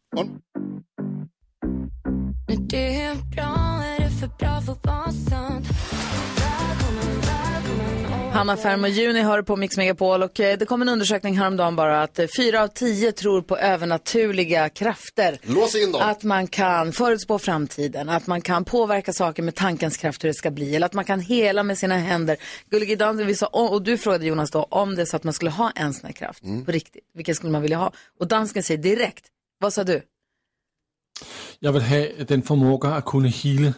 A: Hanna Ferm och Juni hör på Mix Megapol och eh, det kom en undersökning häromdagen bara att eh, fyra av tio tror på övernaturliga krafter.
D: Lås in dem!
A: Att man kan förutspå framtiden, att man kan påverka saker med tankens kraft hur det ska bli, eller att man kan hela med sina händer. Gullige Dansen, vi sa, och du frågade Jonas då om det så att man skulle ha en sån här kraft på riktigt, vilken skulle man vilja ha? Och dansken säger direkt, vad sa du?
E: Jeg vil have den formåga at kunne hele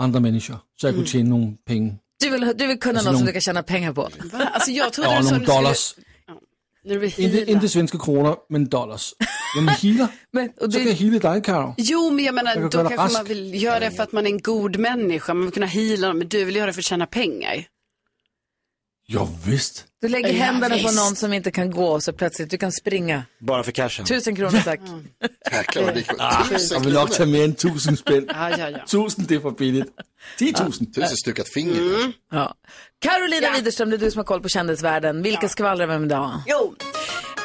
E: andre mennesker, så jeg kunne
A: Mm.
E: tjene nogle penge.
A: Du vill, du vill kunna
E: Alltså,
A: något som
E: någon-
A: du kan tjäna pengar på.
F: alltså jag trodde
E: Ja,
F: du sa
E: nogle
F: du skulle...
E: dollars.
F: När du
E: Inte,
F: healar.
E: inte svenska kronor, men dollars. Jamen healer,
A: Men, och
E: så kan jeg
A: det,
E: hele dig, Karo.
F: Jo, men jag menar,
E: Jag kan
F: då
E: kolla
F: kanske
E: rask.
F: man vill göra det för att man är en god människa. Man vill kunna heala dem, men du vill göra det för att tjäna pengar.
E: Jo, visst.
A: du lägger
F: Ja,
A: händerna på
F: visst.
A: någon som inte kan gå så plötsligt, du kan springa.
C: Bara för cashen.
A: Tusen kronor tack.
D: Jäklar vad det gick. Tusen
E: Jeg vil nok tage
D: kronor.
E: mere end 1000 spænd.
F: Ja, ja, ja.
E: 1000, det er for billigt. 10.000.
D: Tusen stukat finger.
A: Ja. Carolina Widerström, det är du som har koll på kändisvärlden. Vilka skvallrar vem idag?
F: Jo,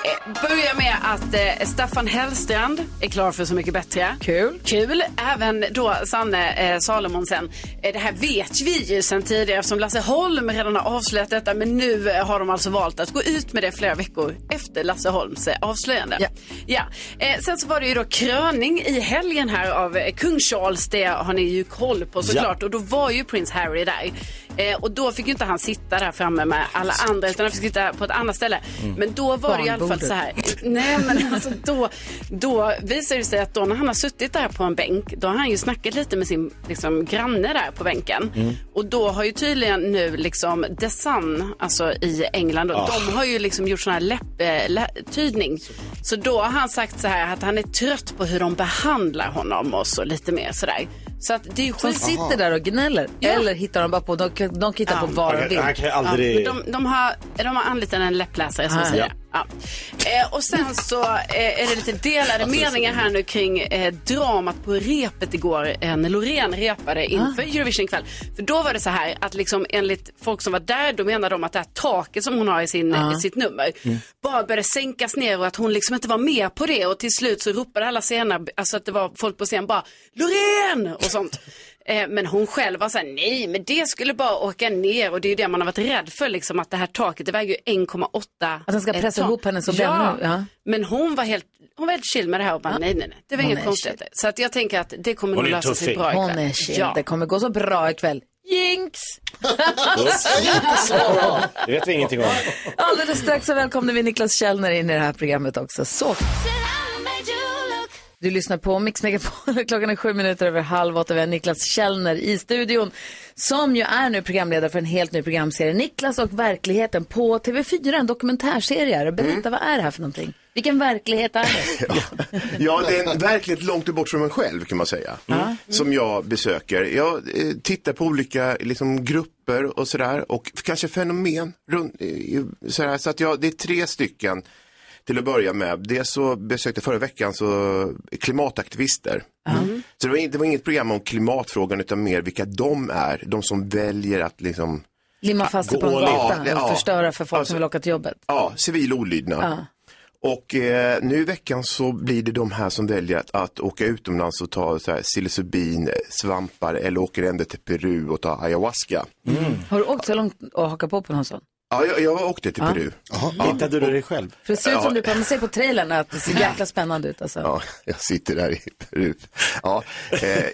F: eh, börja med att eh, Staffan Hellstrand är klar för Så mycket bättre.
A: Kul.
F: Kul. Även då Sanne eh, Salomonsen. Eh, det här vet vi ju sedan tidigare eftersom Lasse Holm redan har avslöjat detta. Men nu eh, har de alltså valt att gå ut med det flera veckor efter Lasse Holms eh, avslöjande.
A: Ja.
F: Ja. Eh, sen så var det ju då kröning i helgen här av eh, kung Charles. Det har ni ju koll på såklart. Och då var ju prins Harry där. Eh, och då fick ju inte han sitta där framme med alla andra utan han fick sitta på ett annat ställe.
A: Mm.
F: Men då var det i alla fall
A: Barnbordet.
F: så här. Nej men alltså då, då visar det sig att då när han har suttit där på en bänk då har han ju snackat lite med sin liksom, granne där på bänken. Och då har ju tydligen nu liksom The Sun, alltså i England, då, de har ju liksom gjort sån här läpptydning. Så då har han sagt så här att han är trött på hur de behandlar honom och så lite mer sådär. Så att det är ju
A: De
F: skit.
A: sitter där och gnäller, eller hittar de bara
J: Ah.
A: på, de, de hittar på vad de
C: Han
A: vill.
C: kan ju
F: Ja, men
C: aldrig...
F: de, de, har, de har anlitat en läppläsare som
A: Ah.
F: säger
A: Ja.
F: det. Ja. Eh, och sen så eh, är det lite delade meningar här nu kring eh, dramat på repet igår eh, när Loreen repade inför Eurovision ikväll. För då var det så här att liksom enligt folk som var där, då menar de att det här taket som hon har i, sin, i sitt nummer
A: Mm.
F: bara började sänkas ner och att hon liksom inte var med på det och till slut så ropade alla scener, alltså att det var folk på scen bara Loreen och sånt. Eh, Men hon själv var så här, nej men det skulle bara åka ner och det är ju det man har varit rädd för liksom att det här taket, det väger ju 1,8
A: Att den ska
F: ett
A: pressa
F: tag.
A: ihop henne som
F: ja.
A: den nu, ja.
F: Men hon var helt hon var helt chill med det här och bara nej, nej, nej. Det var
A: Hon
F: inget
A: är
F: konstigt. Så att jag tänker att det kommer
C: Hon
F: nog
C: är
F: lösa sig
C: tuffing.
F: bra
A: Hon
F: ikväll.
A: är chill.
F: Ja.
A: Det kommer gå så bra ikväll. Jinx!
C: Det vet vi ingenting om.
J: Oh.
A: Alldeles strax så välkomnar vi Niklas Källner in i det här programmet också. Så. Du lyssnar på Mix Megapol. Klockan är sju minuter över halv åtta. Vi har Niklas Källner i studion som ju är nu programledare för en helt ny programserie. Niklas och verkligheten på TV4, en dokumentärserie. är det.
J: Mm.
A: Berätta, vad är det här för någonting? Vilken verklighet är det?
J: Ja, det är en verkligt långt bort från en själv kan man säga. Mm. Som jag besöker. Jag eh, tittar på olika liksom, grupper och sådär och f- kanske fenomen. Runt, eh, sådär. Så att jag, det är tre stycken till att börja med. Dels så besökte jag förra veckan så klimataktivister. Mm. Så det var, in- det var inget program om klimatfrågan utan mer vilka de är. De som väljer att liksom
A: Limma fast sig på en
J: Gå all in.
A: gata
J: Ja,
A: och
J: ja.
A: förstöra för folk som
J: Alltså-
A: vill åka till jobbet.
J: Ja, civil olydnad. Och eh, nu i veckan så blir det de här som väljer att, att åka utomlands och ta så här psilocybin, eh, svampar eller åker ända till Peru och tar ayahuasca.
A: Har du åkt så långt och hakat på på någon sån?
J: Ja, jag, jag åkte till Peru.
C: Hittade du dig själv?
A: För det ser ut
J: Ja.
A: som du, man ser på trailern att det ser jäkla spännande ut alltså.
J: Ja, jag sitter där i Peru. Ja,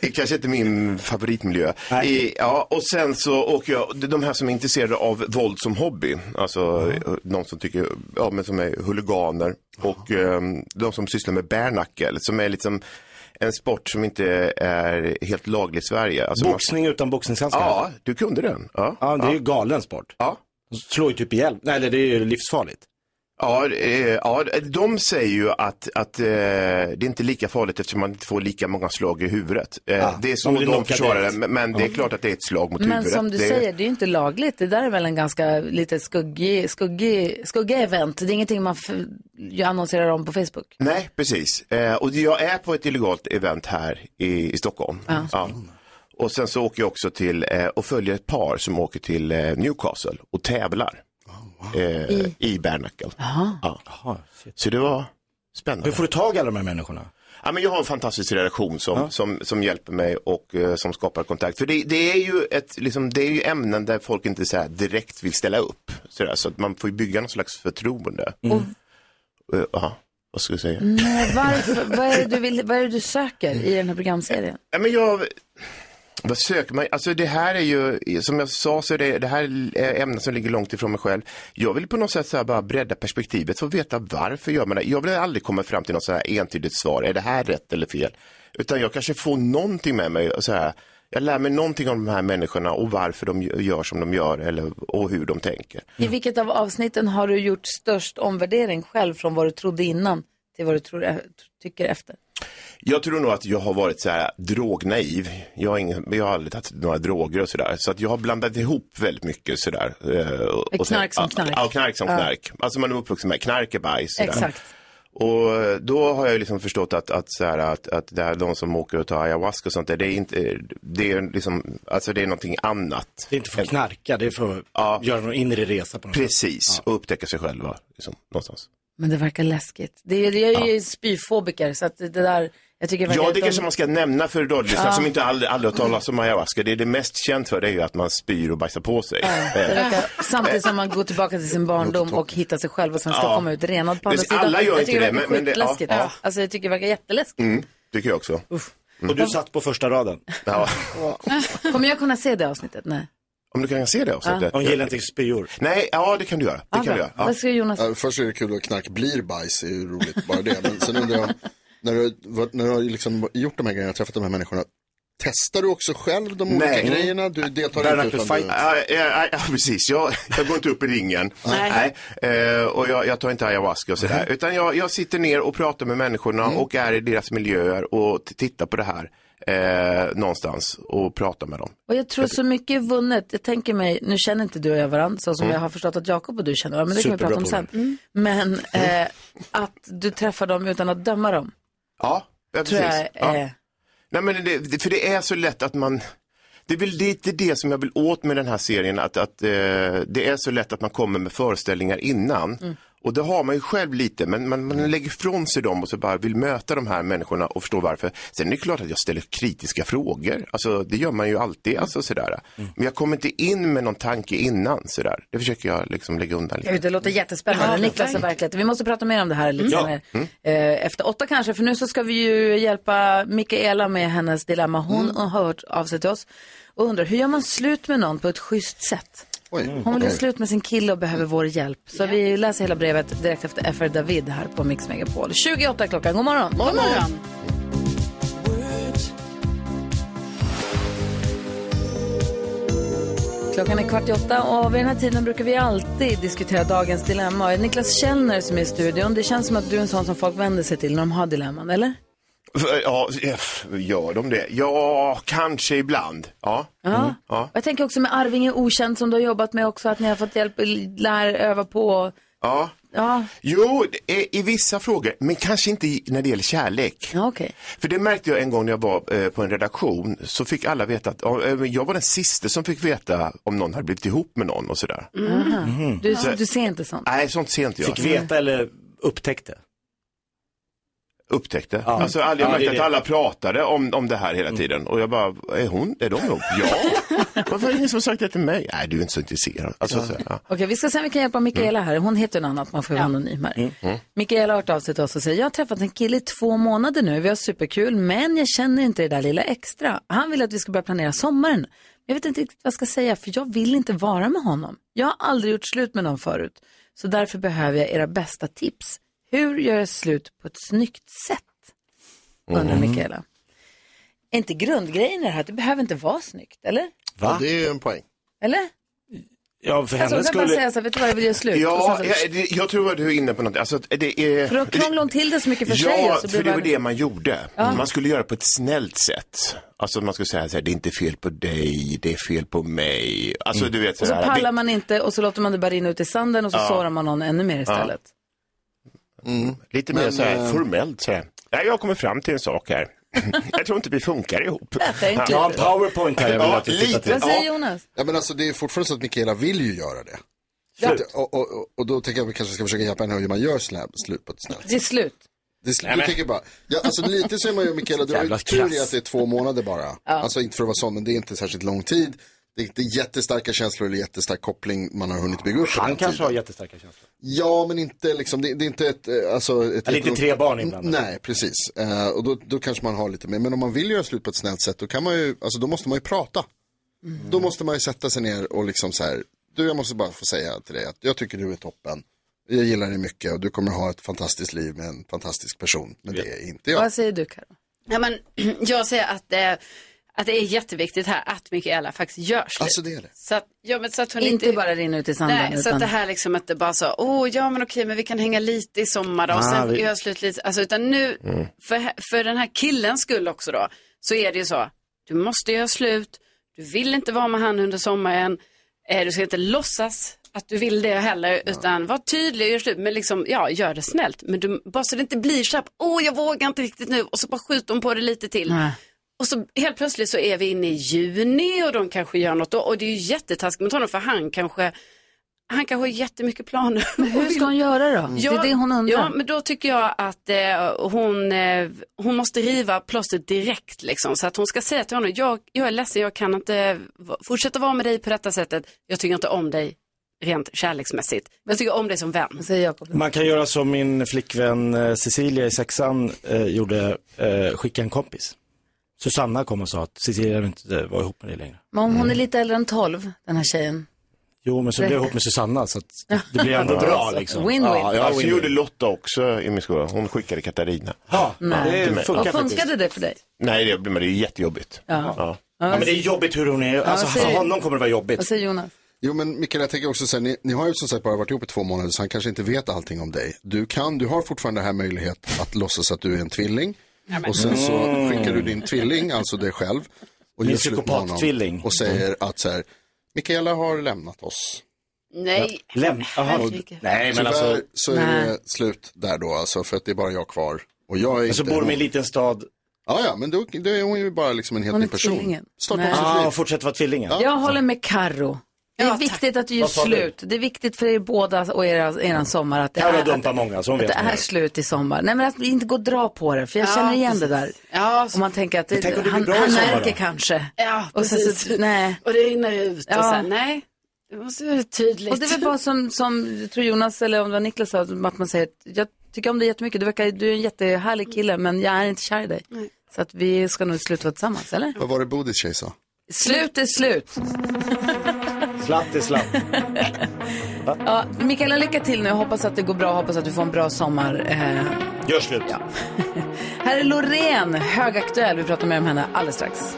J: eh, kanske inte min favoritmiljö. I, ja, och sen så åker jag, det är de här som är intresserade av våld som hobby, alltså eh, de som tycker, ja men som är huliganer och ehm, de som sysslar med bärnackel som är liksom en sport som inte är helt laglig i Sverige. Alltså, man-
C: Boxning utan boxningshandskar?
J: Ja, du kunde den. Ja,
C: Ja, det är ju galen sport.
J: ja.
C: De slår ju typ ihjäl. Nej, eller det är ju livsfarligt.
J: Ja, eh, ja, de säger ju att, att eh, det är inte lika farligt eftersom man inte får lika många slag i huvudet. Eh,
C: Ja,
J: det är så
C: de blir
J: de
C: knockade
J: försvarar det,
C: direkt.
J: men, men det är klart att det är ett slag mot
A: Men
J: huvudet.
A: som du
J: det,
A: säger, det är ju inte lagligt. Det där är väl en ganska lite skuggig, skuggig, skuggig event. Det är ingenting man f- ju annonserar om på Facebook.
J: Nej, precis. Eh, och jag är på ett illegalt event här i, i Stockholm. Ja. Och sen så åker jag också till eh, och följer ett par som åker till eh, Newcastle och tävlar eh, i, Bernacle. Ja. Så det var spännande.
C: Hur får du tag i alla de här människorna?
J: Ja, men jag har en fantastisk redaktion som, som, som hjälper mig och eh, som skapar kontakt. För det, det, är ju ett, liksom, det är ju ämnen där folk inte så här, direkt vill ställa upp. Så, där, så att man får ju bygga någon slags förtroende. Eh, ja, vad ska jag säga?
A: Men varför, vad, är det du vill, vad är det du söker i den här programserien?
J: Ja, men jag... Vad söker man? Alltså det här är ju, som jag sa, så är det, det här är ämnen som ligger långt ifrån mig själv. Jag vill på något sätt så här bara bredda perspektivet, få veta varför gör man det. Jag vill aldrig komma fram till något så här entydigt svar, är det här rätt eller fel? Utan jag kanske får någonting med mig, och så här, jag lär mig någonting om de här människorna och varför de gör som de gör eller, och hur de tänker.
A: I vilket av avsnitten har du gjort störst omvärdering själv från vad du trodde innan till vad du tror, eh, tycker efter?
J: Jag tror nog att jag har varit så här drognaiv. Jag har, ingen, jag har aldrig tagit några droger och sådär. Så att jag har blandat ihop väldigt mycket sådär. eh, Och,
A: Med
J: och sen-
A: knark som knark.
J: Ja, knark som knark. Alltså man är uppvuxen med knark är bajs. sådär.
A: Exakt.
J: Och eh, då har jag ju liksom förstått att, att, så här, att, att det här, de som åker och tar ayahuasca och sånt där, det är inte, det är liksom, alltså det är någonting annat.
C: Det är inte för att knarka, det är för att
J: Ja.
C: göra någon inre resa på något sätt.
J: Precis, och upptäcka sig själva liksom, någonstans.
A: Men det verkar läskigt. Det, är- jag är ju spyfobiker så att det där, jag tycker verkar...
J: Ja, det
A: de-
J: kanske man ska nämna för radiolyssnare som inte aldrig, aldrig har talat om ayahuasca. Det är det mest känt för det är ju att man spyr och bajsar på sig. Eh,
A: det verkar, samtidigt som man går tillbaka till sin barndom och hittar sig själv och sen ska
J: Ja.
A: komma ut renad på andra
J: Precis,
A: sidan.
J: alla gör
A: jag
J: inte
A: tycker
J: det,
A: verkar
J: men- men det- ja.
A: skitläskigt.
J: Ja. Mm.
A: Alltså jag tycker det verkar jätteläskigt.
J: Tycker jag också.
C: Och du satt på första raden.
J: Ja.
A: Kommer jag kunna se det avsnittet? Nej.
J: Om du kan se det avsnittet?
C: De gillar inte spyor.
J: Nej, ja det kan du göra. Det
A: Ja,
J: kan
A: bra.
J: du göra. Ja.
A: Vad ska Jonas
D: Ja, först är det kul att knark blir bajs, det är ju roligt bara det. Men sen undrar jag, när du, har varit- när du har liksom gjort de här grejerna, träffat de här människorna, testar du också själv de olika
J: Nej.
D: grejerna? Du deltar
C: Bernhard
D: inte utan
C: Fight.
D: du...
J: Ja, ja, ja, precis, jag, jag går inte upp i ringen. Nej. Eh, och jag, jag tar inte ayahuasca och sådär. Utan jag, jag sitter ner och pratar med människorna och är i deras miljöer och t- tittar på det här. eh, någonstans och prata med dem.
A: Och jag tror så mycket är vunnet. Jag tänker mig, nu känner inte du och jag varandra så som
J: Mm.
A: jag har förstått att Jakob och du känner varandra, men det kan vi prata
J: Superbra Mm.
A: om sen. Men eh, att du träffar dem utan att döma dem.
J: Ja, ja
A: Tror
J: precis.
A: jag,
J: ja.
A: eh.
J: Nej, men det, det- för det är så lätt att man, det är väl lite det som jag vill åt med den här serien, att, att eh, det är så lätt att man kommer med föreställningar innan. Och det har man ju själv lite, men man, man lägger ifrån sig dem och så bara vill möta de här människorna och förstå varför. Sen är det klart att jag ställer kritiska frågor, alltså det gör man ju alltid, alltså sådär. Men jag kommer inte in med någon tanke innan, sådär. Det försöker jag liksom lägga undan lite.
A: Gud, Mm. det låter jättespännande. Niklas är verkligen... Vi måste prata mer om det här lite
J: Ja.
A: senare. Eh, efter åtta kanske, för nu så ska vi ju hjälpa Mikaela med hennes dilemma. Hon har hört av sig till oss och undrar, hur gör man slut med någon på ett schysst sätt? Hon vill göra
K: Oj.
A: slut med sin kille och behöver vår hjälp. Så vi läser hela brevet direkt efter FR David här på Mix Megapol. 28 är klockan, god morgon. God morgon. Klockan är kvart i åtta och vid den här tiden brukar vi alltid diskutera dagens dilemma. Och Niklas Källner som är i studion, det känns som att du är en sån som folk vänder sig till när de har dilemman, eller?
J: Ja, f- gör de det? Ja, kanske ibland. Ja.
A: Ja.
J: ja.
A: Och jag tänker också med Arvinge okänd som du har jobbat med också, att ni har fått hjälp, lära öva på. och-
J: ja.
A: Ja,
J: Jo, det är i vissa frågor, men kanske inte i- när det gäller kärlek. För det märkte jag en gång när jag var eh, på en redaktion, så fick alla veta att ja, eh, men jag var den sista som fick veta om någon hade blivit ihop med någon och sådär.
A: Aha. Du,
J: Så-
A: du ser inte sånt.
J: Nej, sånt ser inte jag.
C: Fick veta
J: eller upptäckte? Upptäckte.
C: Ja.
J: Alltså, all- jag
C: Ja,
J: märkte
C: det är
J: att
C: det.
J: alla pratade om, om det här hela tiden och jag bara, är hon, är de ihop? Ja. Varför är det ingen som har sagt det till mig? Nej, du är inte så intresserad. Alltså, Så, ja.
A: Okej, vi ska se om vi kan hjälpa Mikaela här. Hon heter något annat, man får ju vara anonym här.
J: Mm.
A: Mikaela har hört av sig till oss och säger, jag har träffat en kille i två månader nu, vi har superkul, men jag känner inte det där lilla extra. Han vill att vi ska börja planera sommaren. Jag vet inte riktigt vad jag ska säga, för jag vill inte vara med honom. Jag har aldrig gjort slut med någon förut, så därför behöver jag era bästa tips. Hur gör jag slut på ett snyggt sätt? Undrar
D: Mm.
A: Mikaela. Är inte grundgrejen i det här att det behöver inte vara snyggt, eller?
D: Ja, det är en poäng.
A: Eller?
J: Ja,
A: För alltså, hon kan bara säga så här, vet du vad, jag vill göra slut.
J: Ja,
A: Och sen så-
J: jag, det- jag tror att du är inne på något. Alltså, att det är...
A: För då krånglar hon till det så mycket för sig.
J: Ja,
A: och Så
J: för
A: blir
J: det var
A: bara...
J: det man gjorde.
A: Ja.
J: Man skulle göra på ett snällt sätt. Alltså man skulle säga så här, det är inte fel på dig, det är fel på mig. Alltså du vet
A: Och så
J: här,
A: pallar man inte och så låter man det bara rinna ut i sanden och så
J: Ja.
A: sårar man någon ännu mer istället.
J: vi- Mm. Lite mer
A: Men,
J: så här
A: eh,
J: formellt så här. Ja, jag kommer fram till en sak här. jag tror inte vi funkar ihop.
A: Detta är enkelt. Jag har en
D: powerpoint här jag vill
J: Ja,
D: att du tittar
J: lite.
D: till.
A: Vad säger Jonas?
D: Ja, men alltså, det är fortfarande så att Mikaela vill ju göra det.
A: Ja.
D: Att- Och, och, och, och då tänker jag att vi kanske ska försöka hjälpa henne hur man gör slä- slut på ett snällt
A: Det är slut.
D: Det är sl-
A: Nej,
D: du
A: men-
D: tänker bara, ja, alltså lite så är man ju Mikaela, du har ju
A: Jävla
D: tur i
A: krass.
D: att det är två månader bara. Alltså inte för att vara sån, men det är inte särskilt lång tid. Det är inte jättestarka känslor eller jättestark koppling man har hunnit bygga upp. på
C: Han
D: den
C: kanske
D: tiden.
C: har jättestarka känslor.
D: Ja, men inte liksom, det, det är inte ett... eh, Alltså, ett
C: Ja, det är inte
D: ett-
C: tre barn inblandade.
D: Nej, precis. Eh, och då, då kanske man har lite mer, men om man vill göra slut på ett snällt sätt, då kan man ju, alltså då måste man ju prata. Då måste man ju sätta sig ner och liksom så här, du jag måste bara få säga till dig att jag tycker du är toppen. Jag gillar dig mycket och du kommer ha ett fantastiskt liv med en fantastisk person. Men det är inte jag.
A: Vad säger du Karo?
F: Ja, men, jag säger att, eh, att det är jätteviktigt här att Mikaela faktiskt gör slut.
D: Alltså det är det.
F: Så att, ja, men så att hon
A: Inte bara rinna ut i sanden.
F: Nej, så
A: utan...
F: att det här liksom att det bara så, åh ja men okej men vi kan hänga lite i sommar då och
A: Ah,
F: sen
A: vi-
F: gör jag slut lite, alltså utan nu,
A: Mm.
F: för, för den här killens skull också då, så är det ju så, du måste göra slut, du vill inte vara med han under sommaren, eh, du ska inte låtsas att du vill det heller, utan var tydlig och gör slut, men liksom, ja, gör det snällt, men du, bara så det inte blir så här, åh jag vågar inte riktigt nu, och så bara skjuter hon på det lite till.
A: Nej.
F: Och så helt plötsligt så är vi inne i juni och de kanske gör något då. Och det är ju jättetaskigt mot honom för han kanske, han kanske har jättemycket planer.
A: Men hur ska hon göra då? det är det hon undrar.
F: Ja, men då tycker jag att eh, hon, eh, hon måste riva plåstret direkt liksom. Så att hon ska säga till honom, jag, jag är ledsen, jag kan inte v- fortsätta vara med dig på detta sättet. Jag tycker inte om dig rent kärleksmässigt. Men jag tycker om dig som vän.
A: Säger Jakob.
C: Man kan göra som min flickvän eh, Cecilia i sexan eh, gjorde, eh, skicka en kompis. Susanna kom och sa att Cecilia vill inte eh, vara ihop med dig längre.
A: Men om
J: Mm.
A: hon är lite äldre än 12, den här tjejen.
C: Jo, men så blev jag ihop med Susanna så att det blev ändå bra liksom.
A: Win-win.
J: Ja, ja, så
C: Win-win.
J: gjorde Lotta också i min skola. Hon skickade Katarina.
C: Ja,
J: till mig.
A: Och funkade det för dig?
J: Nej, det, men det är jättejobbigt.
A: Ja.
C: Ja, men det är jobbigt hur hon är. Alltså,
A: vad
C: för
A: säger-
C: honom kommer det vara jobbigt.
A: Vad säger Jonas?
D: Jo men Mikael, jag tänker också så här, ni, ni har ju som sagt bara varit ihop i två månader så han kanske inte vet allting om dig. Du kan, du har fortfarande den här möjlighet att låtsas att du är en tvilling. Och sen så
C: Mm.
D: skickar du din tvilling, alltså dig själv, och
C: Min
D: gör slut med
C: psykopat-tvilling.
D: honom och säger att så här, Mikaela har lämnat oss.
L: Nej.
C: Läm... Aha.
D: Och-
L: Herregud.
C: Nej, men
D: Tyvärr
C: alltså.
D: så är
A: Nej.
D: det slut där då alltså, för att det är bara jag kvar. Och jag är
C: Men så
D: inte
C: Alltså, bor de i
D: hon.
C: en liten stad.
D: Ja, ja, men då, då är hon ju bara liksom en helt
A: Hon är
D: ny person.
A: tvillingen.
D: Starta
A: Nej.
D: om sitt
C: Ah,
D: liv.
C: och fortsätter vara tvillingen.
D: Ja.
A: Jag håller med Karro. Det är
L: Ja, tack.
A: viktigt att du gör
C: Vad sa du?
A: slut. Det är viktigt för er båda och er, er sommar att det,
C: Karro
A: är,
C: dumpar
A: att,
C: många, så hon
A: att
C: vet
A: det är
C: det.
A: slut i sommar. Nej men att vi inte går och dra på det, för jag
L: Ja,
A: känner igen det där.
L: Ja,
A: Om man tänker att det,
C: tänk om det blir
A: han,
C: bra i
A: han
C: sommar
A: märker
C: då?
A: kanske.
L: ja
A: Och sen
L: precis.
A: så, nej.
L: Och det rinner ut
A: Ja.
L: och sen, nej. Det måste vara tydligt.
A: Och det är väl bara som, som jag tror Jonas eller om det var Niklas sa, att man säger att jag tycker om dig jättemycket, du, verkar, du är en jättehärlig kille men jag är inte kär i dig. Så att vi ska nog sluta vara tillsammans, eller?
D: Vad var det Bodis tjej sa?
A: Slut är slut.
C: Slatt är slatt.
A: Ja, Mikaela, lycka till nu. Jag hoppas att det går bra och hoppas att du får en bra sommar. Eh,
C: Gör slut.
A: här är Loreen, högaktuell. Vi pratar mer om henne alldeles strax.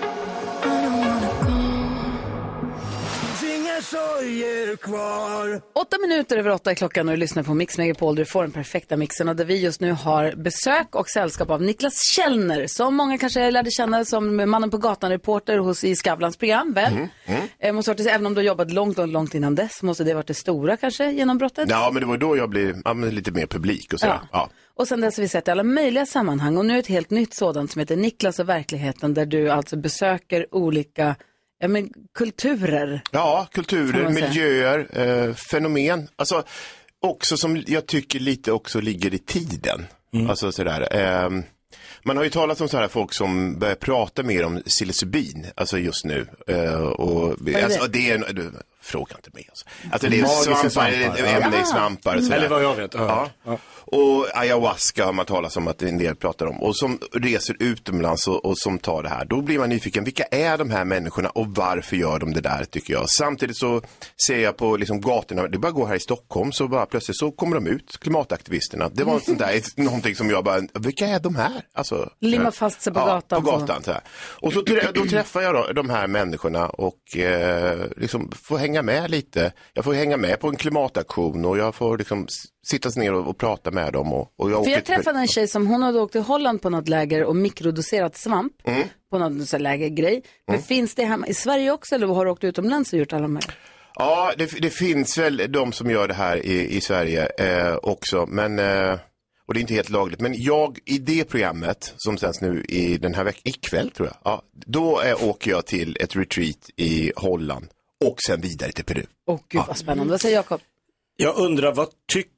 A: Åtta minuter över åtta är klockan och du lyssnar på Mix Megapol där du får den perfekta mixen och där vi just nu har besök och sällskap av Niklas Källner som många kanske lärde känna som mannen på gatan-reporter hos i Skavlans program, väl?
F: Mm,
A: Eh, måste ha varit, även om du har jobbat långt, långt, långt innan dess måste det ha varit det stora kanske genombrottet?
F: Ja, men det var då jag blev ja, men lite mer publik och sådär.
A: Ja.
F: Ja.
A: Och sen dess har vi sett i alla möjliga sammanhang och nu ett helt nytt sådant som heter Niklas och verkligheten där du alltså besöker olika ja, men, kulturer.
F: Ja,
A: Får
F: kulturer,
A: man säga.
F: miljöer, eh, fenomen. Alltså, också som jag tycker lite också ligger i tiden. Alltså sådär. ehm, man har ju talat om sådana folk som börjar prata mer om psilocybin, alltså just nu. Eh, och,
A: det?
F: alltså, det är, en- du, fråga inte mig alltså. Alltså det är
C: Magiska
F: svampar,
C: svampar, Mm. ja.
F: ämnen i svampar. och sådär.
C: Eller vad jag vet.
F: Ja. Och ayahuasca har man talat om att en del pratar om. Och som reser utomlands och, och som tar det här. Då blir man nyfiken. Vilka är de här människorna och varför gör de det där tycker jag. Samtidigt så ser jag på liksom gatorna, det bara går här i Stockholm så bara plötsligt så kommer de ut, klimataktivisterna. Det var en sån där, någonting som jag bara, vilka är de här? Alltså,
A: Limma fast sig på gatan.
F: På gatan så här. Och så trä- då träffar jag då, de här människorna och eh, liksom får hänga med lite. Jag får hänga med på en klimataktion och jag får liksom s- sitta ner och, och prata med dem. Och, och jag
A: För
F: åker
A: jag
F: till-
A: träffade en tjej som hon hade åkt till Holland på något läger och mikrodoserat svamp
F: Mm.
A: på någon sån här lägergrej. Men finns det hemma i Sverige också eller har du åkt utomlands och gjort alla de här?
F: Ja, det, det finns väl de som gör det här i, i Sverige eh, också, men eh, och det är inte helt lagligt. Men jag, i det programmet som sänds nu i den här veckan, ikväll tror jag, ja, då eh, åker jag till ett retreat i Holland och sen vidare till Peru.
A: Åh gud vad spännande. Vad säger Jakob?
C: Jag undrar, vad tycker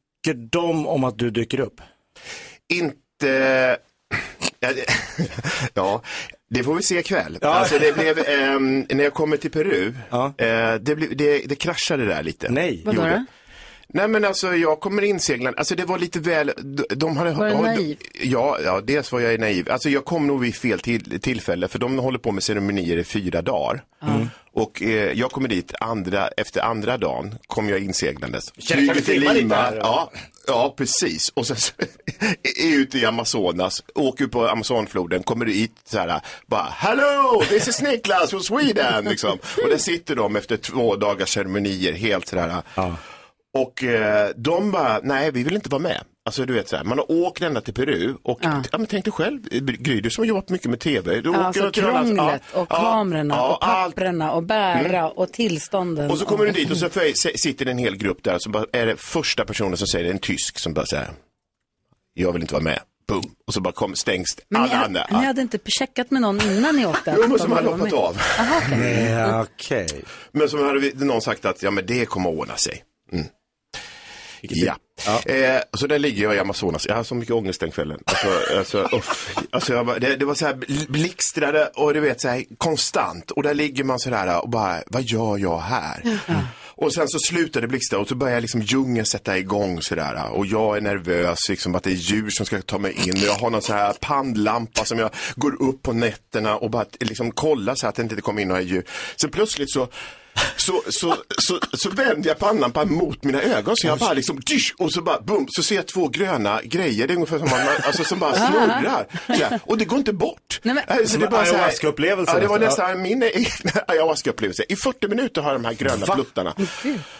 C: de om att du dyker upp?
F: Inte... Ja, det- ja, det får vi se ikväll.
C: Ja.
F: Alltså det blev, ehm, när jag kommer till Peru,
C: Ja.
F: eh, det, blev, det, det kraschade där lite.
C: Nej.
A: Vadå
F: gjorde.
A: då?
F: Nej men alltså jag kommer inseglande, alltså det var lite väl, de- de hade...
A: Var du
F: ja, de-
A: naiv?
F: Ja, ja, dels var jag naiv. Alltså jag kom nog vid fel till, tillfälle för de håller på med ceremonier i fyra dagar. Och eh, jag kommer dit andra, efter andra dagen, kom jag inseglandes.
C: Känner- kan du filma lite här, eller?
F: ja, ja precis. Och sen så, är ute i Amazonas, åker på Amazonfloden, kommer dit så här, bara hello, this is Niklas from Sweden. Liksom. Och där sitter de efter två dagars ceremonier helt sådär. Och eh, de bara, nej vi vill inte vara med. Alltså du vet så här, man har åkt ända till Peru och ja. men tänk dig själv eh, Gry, du som har jobbat mycket med tv.
A: Ja,
F: Du åker
A: Alltså
F: och till alla-
A: krånglet
F: ja,
A: och
F: ja,
A: kamerorna
F: ja,
A: och
F: allt. Mm.
A: papperna och bära och tillstånden.
F: Och så kommer du dit och så för- se- sitter det en hel grupp där så bara, är det första personen som säger, det är en tysk som bara säger, jag vill inte vara med. Boom. Och så bara kom, stängs
A: Men ni,
F: alla
A: hade,
F: andra.
A: ni
F: Ja.
A: hade inte checkat med någon innan ni åkte?
F: Jo, men
A: Att
F: som
A: de
F: hade
A: var
F: hoppat
A: med?
F: av. Mm.
A: Aha, okej.
C: Ja, okej.
F: Men som hade vi- någon sagt att, ja men det kommer att ordna sig. Mm.
C: Vilket-
F: Ja. Eh, så där ligger jag i Amazonas. Jag har så mycket ångest den kvällen. Alltså, alltså, uff. alltså, jag bara, det, det var så här bl- blixtrade och du vet så här konstant. Och där ligger man så där och bara, vad gör jag här? Och sen så slutade blixtra och så började liksom djungeln sätta igång sådär. Och jag är nervös liksom att det är djur som ska ta mig in. Och jag har någon så här pannlampa som jag går upp på nätterna och bara liksom kollar så här att det inte kommer in några djur. Sen plötsligt så så, så, så, så vände jag pannlampan mot mina ögon så jag bara liksom dysch, och så bara bum, så ser jag två gröna grejer, det är ungefär som, man, alltså, som bara snurrar. Så här. Och det går inte bort.
A: Nej, men-
F: Alltså,
C: Som en
F: så här-
C: ayahuasca-upplevelse
F: Ja, det var
C: nästan.
F: nästan min egen ayahuasca-upplevelse. I 40 minuter har jag de här gröna pluttarna.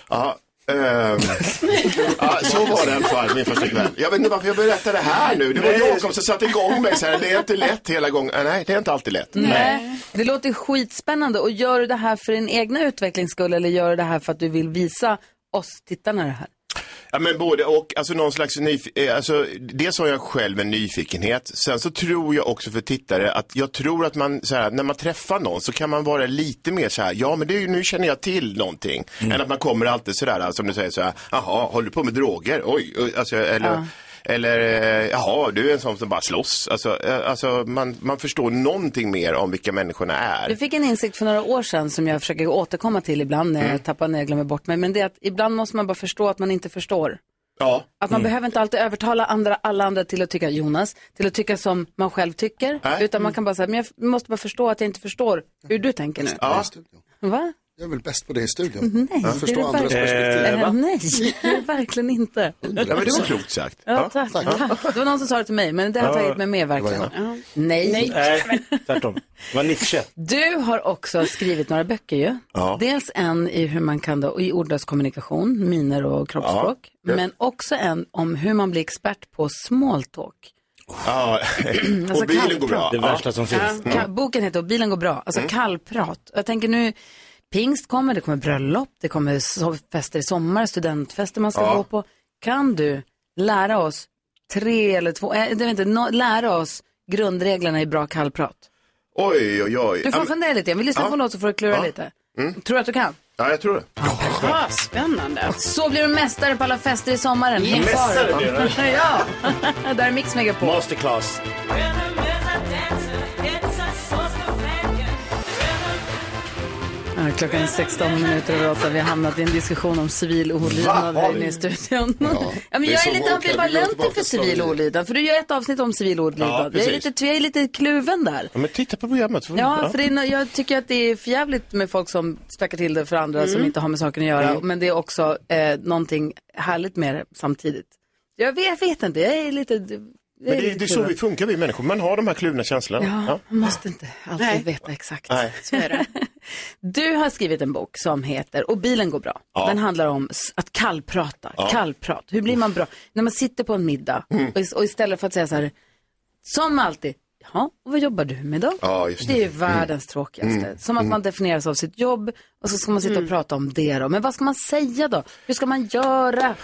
F: Ja,
J: Ehm, ja, så var det i alla fall, min första kväll. Jag vet inte varför jag berättar det här nu. Det var Jakob som satte igång mig så här. Det är inte lätt hela gången. Ah, nej, det är inte alltid lätt.
A: Nej. Det låter skitspännande. Och gör du det här för din egna utvecklings skull eller gör du det här för att du vill visa oss tittarna det här?
J: Ja, men både och. Alltså någon slags nyf- eh, alltså, dels har jag själv en nyfikenhet. Sen så tror jag också för tittare att jag tror att man, så här, när man träffar någon så kan man vara lite mer så här, ja men det är, ju- nu känner jag till någonting. Än att man kommer alltid så där, eh, som du säger så här, jaha, håller du på med droger? Oj, oj, alltså, eller... Eller, eh, jaha, du är en sån som bara slåss. Alltså, eh, alltså man, man förstår någonting mer om vilka människorna är.
A: Jag fick en insikt för några år sedan som jag försöker återkomma till ibland när
F: Mm.
A: jag tappar när jag glömmer bort mig. Men det är att ibland måste man bara förstå att man inte förstår.
J: Ja.
A: Att
F: Mm.
A: man behöver inte alltid övertala andra, alla andra till att tycka Jonas, till att tycka som man själv tycker.
J: Nej.
A: Utan
F: Mm.
A: man kan bara säga, men jag måste bara förstå att jag inte förstår hur du tänker nu.
J: Ja.
A: Va?
D: Jag är väl bäst på det i studion.
A: Mhm. Nej,
D: Jag
A: det
D: förstår
A: är det
D: andras
A: verkligen,
D: perspektiv.
A: Eh, nej, det är det verkligen inte.
J: ja, men det var klokt sagt.
A: Ja, tack, tack. Det var någon som sa det till mig, men det har tagit mig med verkligen. Nej.
C: Nej, tvärtom. Det var Nietzsche.
A: Du har också skrivit några böcker ju.
J: Ja.
A: Dels en i hur man kan då, i ordlös kommunikation, miner och kroppsspråk.
J: Ja.
A: Men också en om hur man blir expert på small talk. Alltså
J: Ja. eh, Och bilen går bra.
C: Det
J: Ja.
C: värsta som
J: Mm.
C: finns.
A: Ka- Boken heter Bilen går bra, alltså kallprat. Jag tänker nu, pingst kommer, det kommer bröllop, det kommer so- fester i sommar, studentfester man ska
J: Ja.
A: gå på. Kan du lära oss tre eller två, äh, jag vet inte, nå- lära oss grundreglerna i bra kallprat?
J: Oj, oj, oj.
A: Du
J: Ja,
A: får
J: men-
A: fundera lite, vi lyssnar
J: Ja.
A: på en låt så får du klura
J: Ja. Mm.
A: lite. Tror du att du kan?
J: Ja, jag tror det.
F: Ah, spännande.
A: Så blir du mästare på alla fester i sommaren. Yes.
C: Mästare blir
A: du. ja, där är Mix Megapol.
C: Masterclass.
A: Ja, Klockan är 16 minuter över 8. Vi har hamnat i en diskussion om civil olydnad här inne i studion. Ja, men
D: är
A: jag
D: så
A: är lite
D: vår kväll. Vi går
A: ambivalent
D: tillbaka
A: inför
D: till
A: civil
D: slaveri.
A: olydnad, för du gör ett avsnitt om civil olydnad. jag, är
J: precis. Mm.
A: lite, jag är lite kluven där.
J: Ja, men titta på programmet. så får vi-
A: Ja, för det är, nå- jag tycker att det är förjävligt med folk som stökar till det för andra
J: Mm.
A: som inte har med saken att göra. Men det är också eh, någonting härligt med det samtidigt. Jag vet, jag vet inte, jag är lite... jag är
J: Men det,
A: lite
J: det är så
A: kluven.
J: vi funkar, vi människor. Man har de här kluvna känslorna.
A: Ja,
J: Ja.
A: man måste inte alltid veta exakt.
J: Nej.
A: Så är det. Du har skrivit en bok som heter Och bilen går bra. Den handlar om s- att kallprata. Kallprat. Hur blir man bra? När man sitter på en middag och, is- och istället för att säga så här, som alltid, jaha, och vad jobbar du med då?
J: Ja, just
A: det är ju världens tråkigaste. Som att man definieras av sitt jobb och så ska man sitta och prata om det då. Men vad ska man säga då? Hur ska man göra?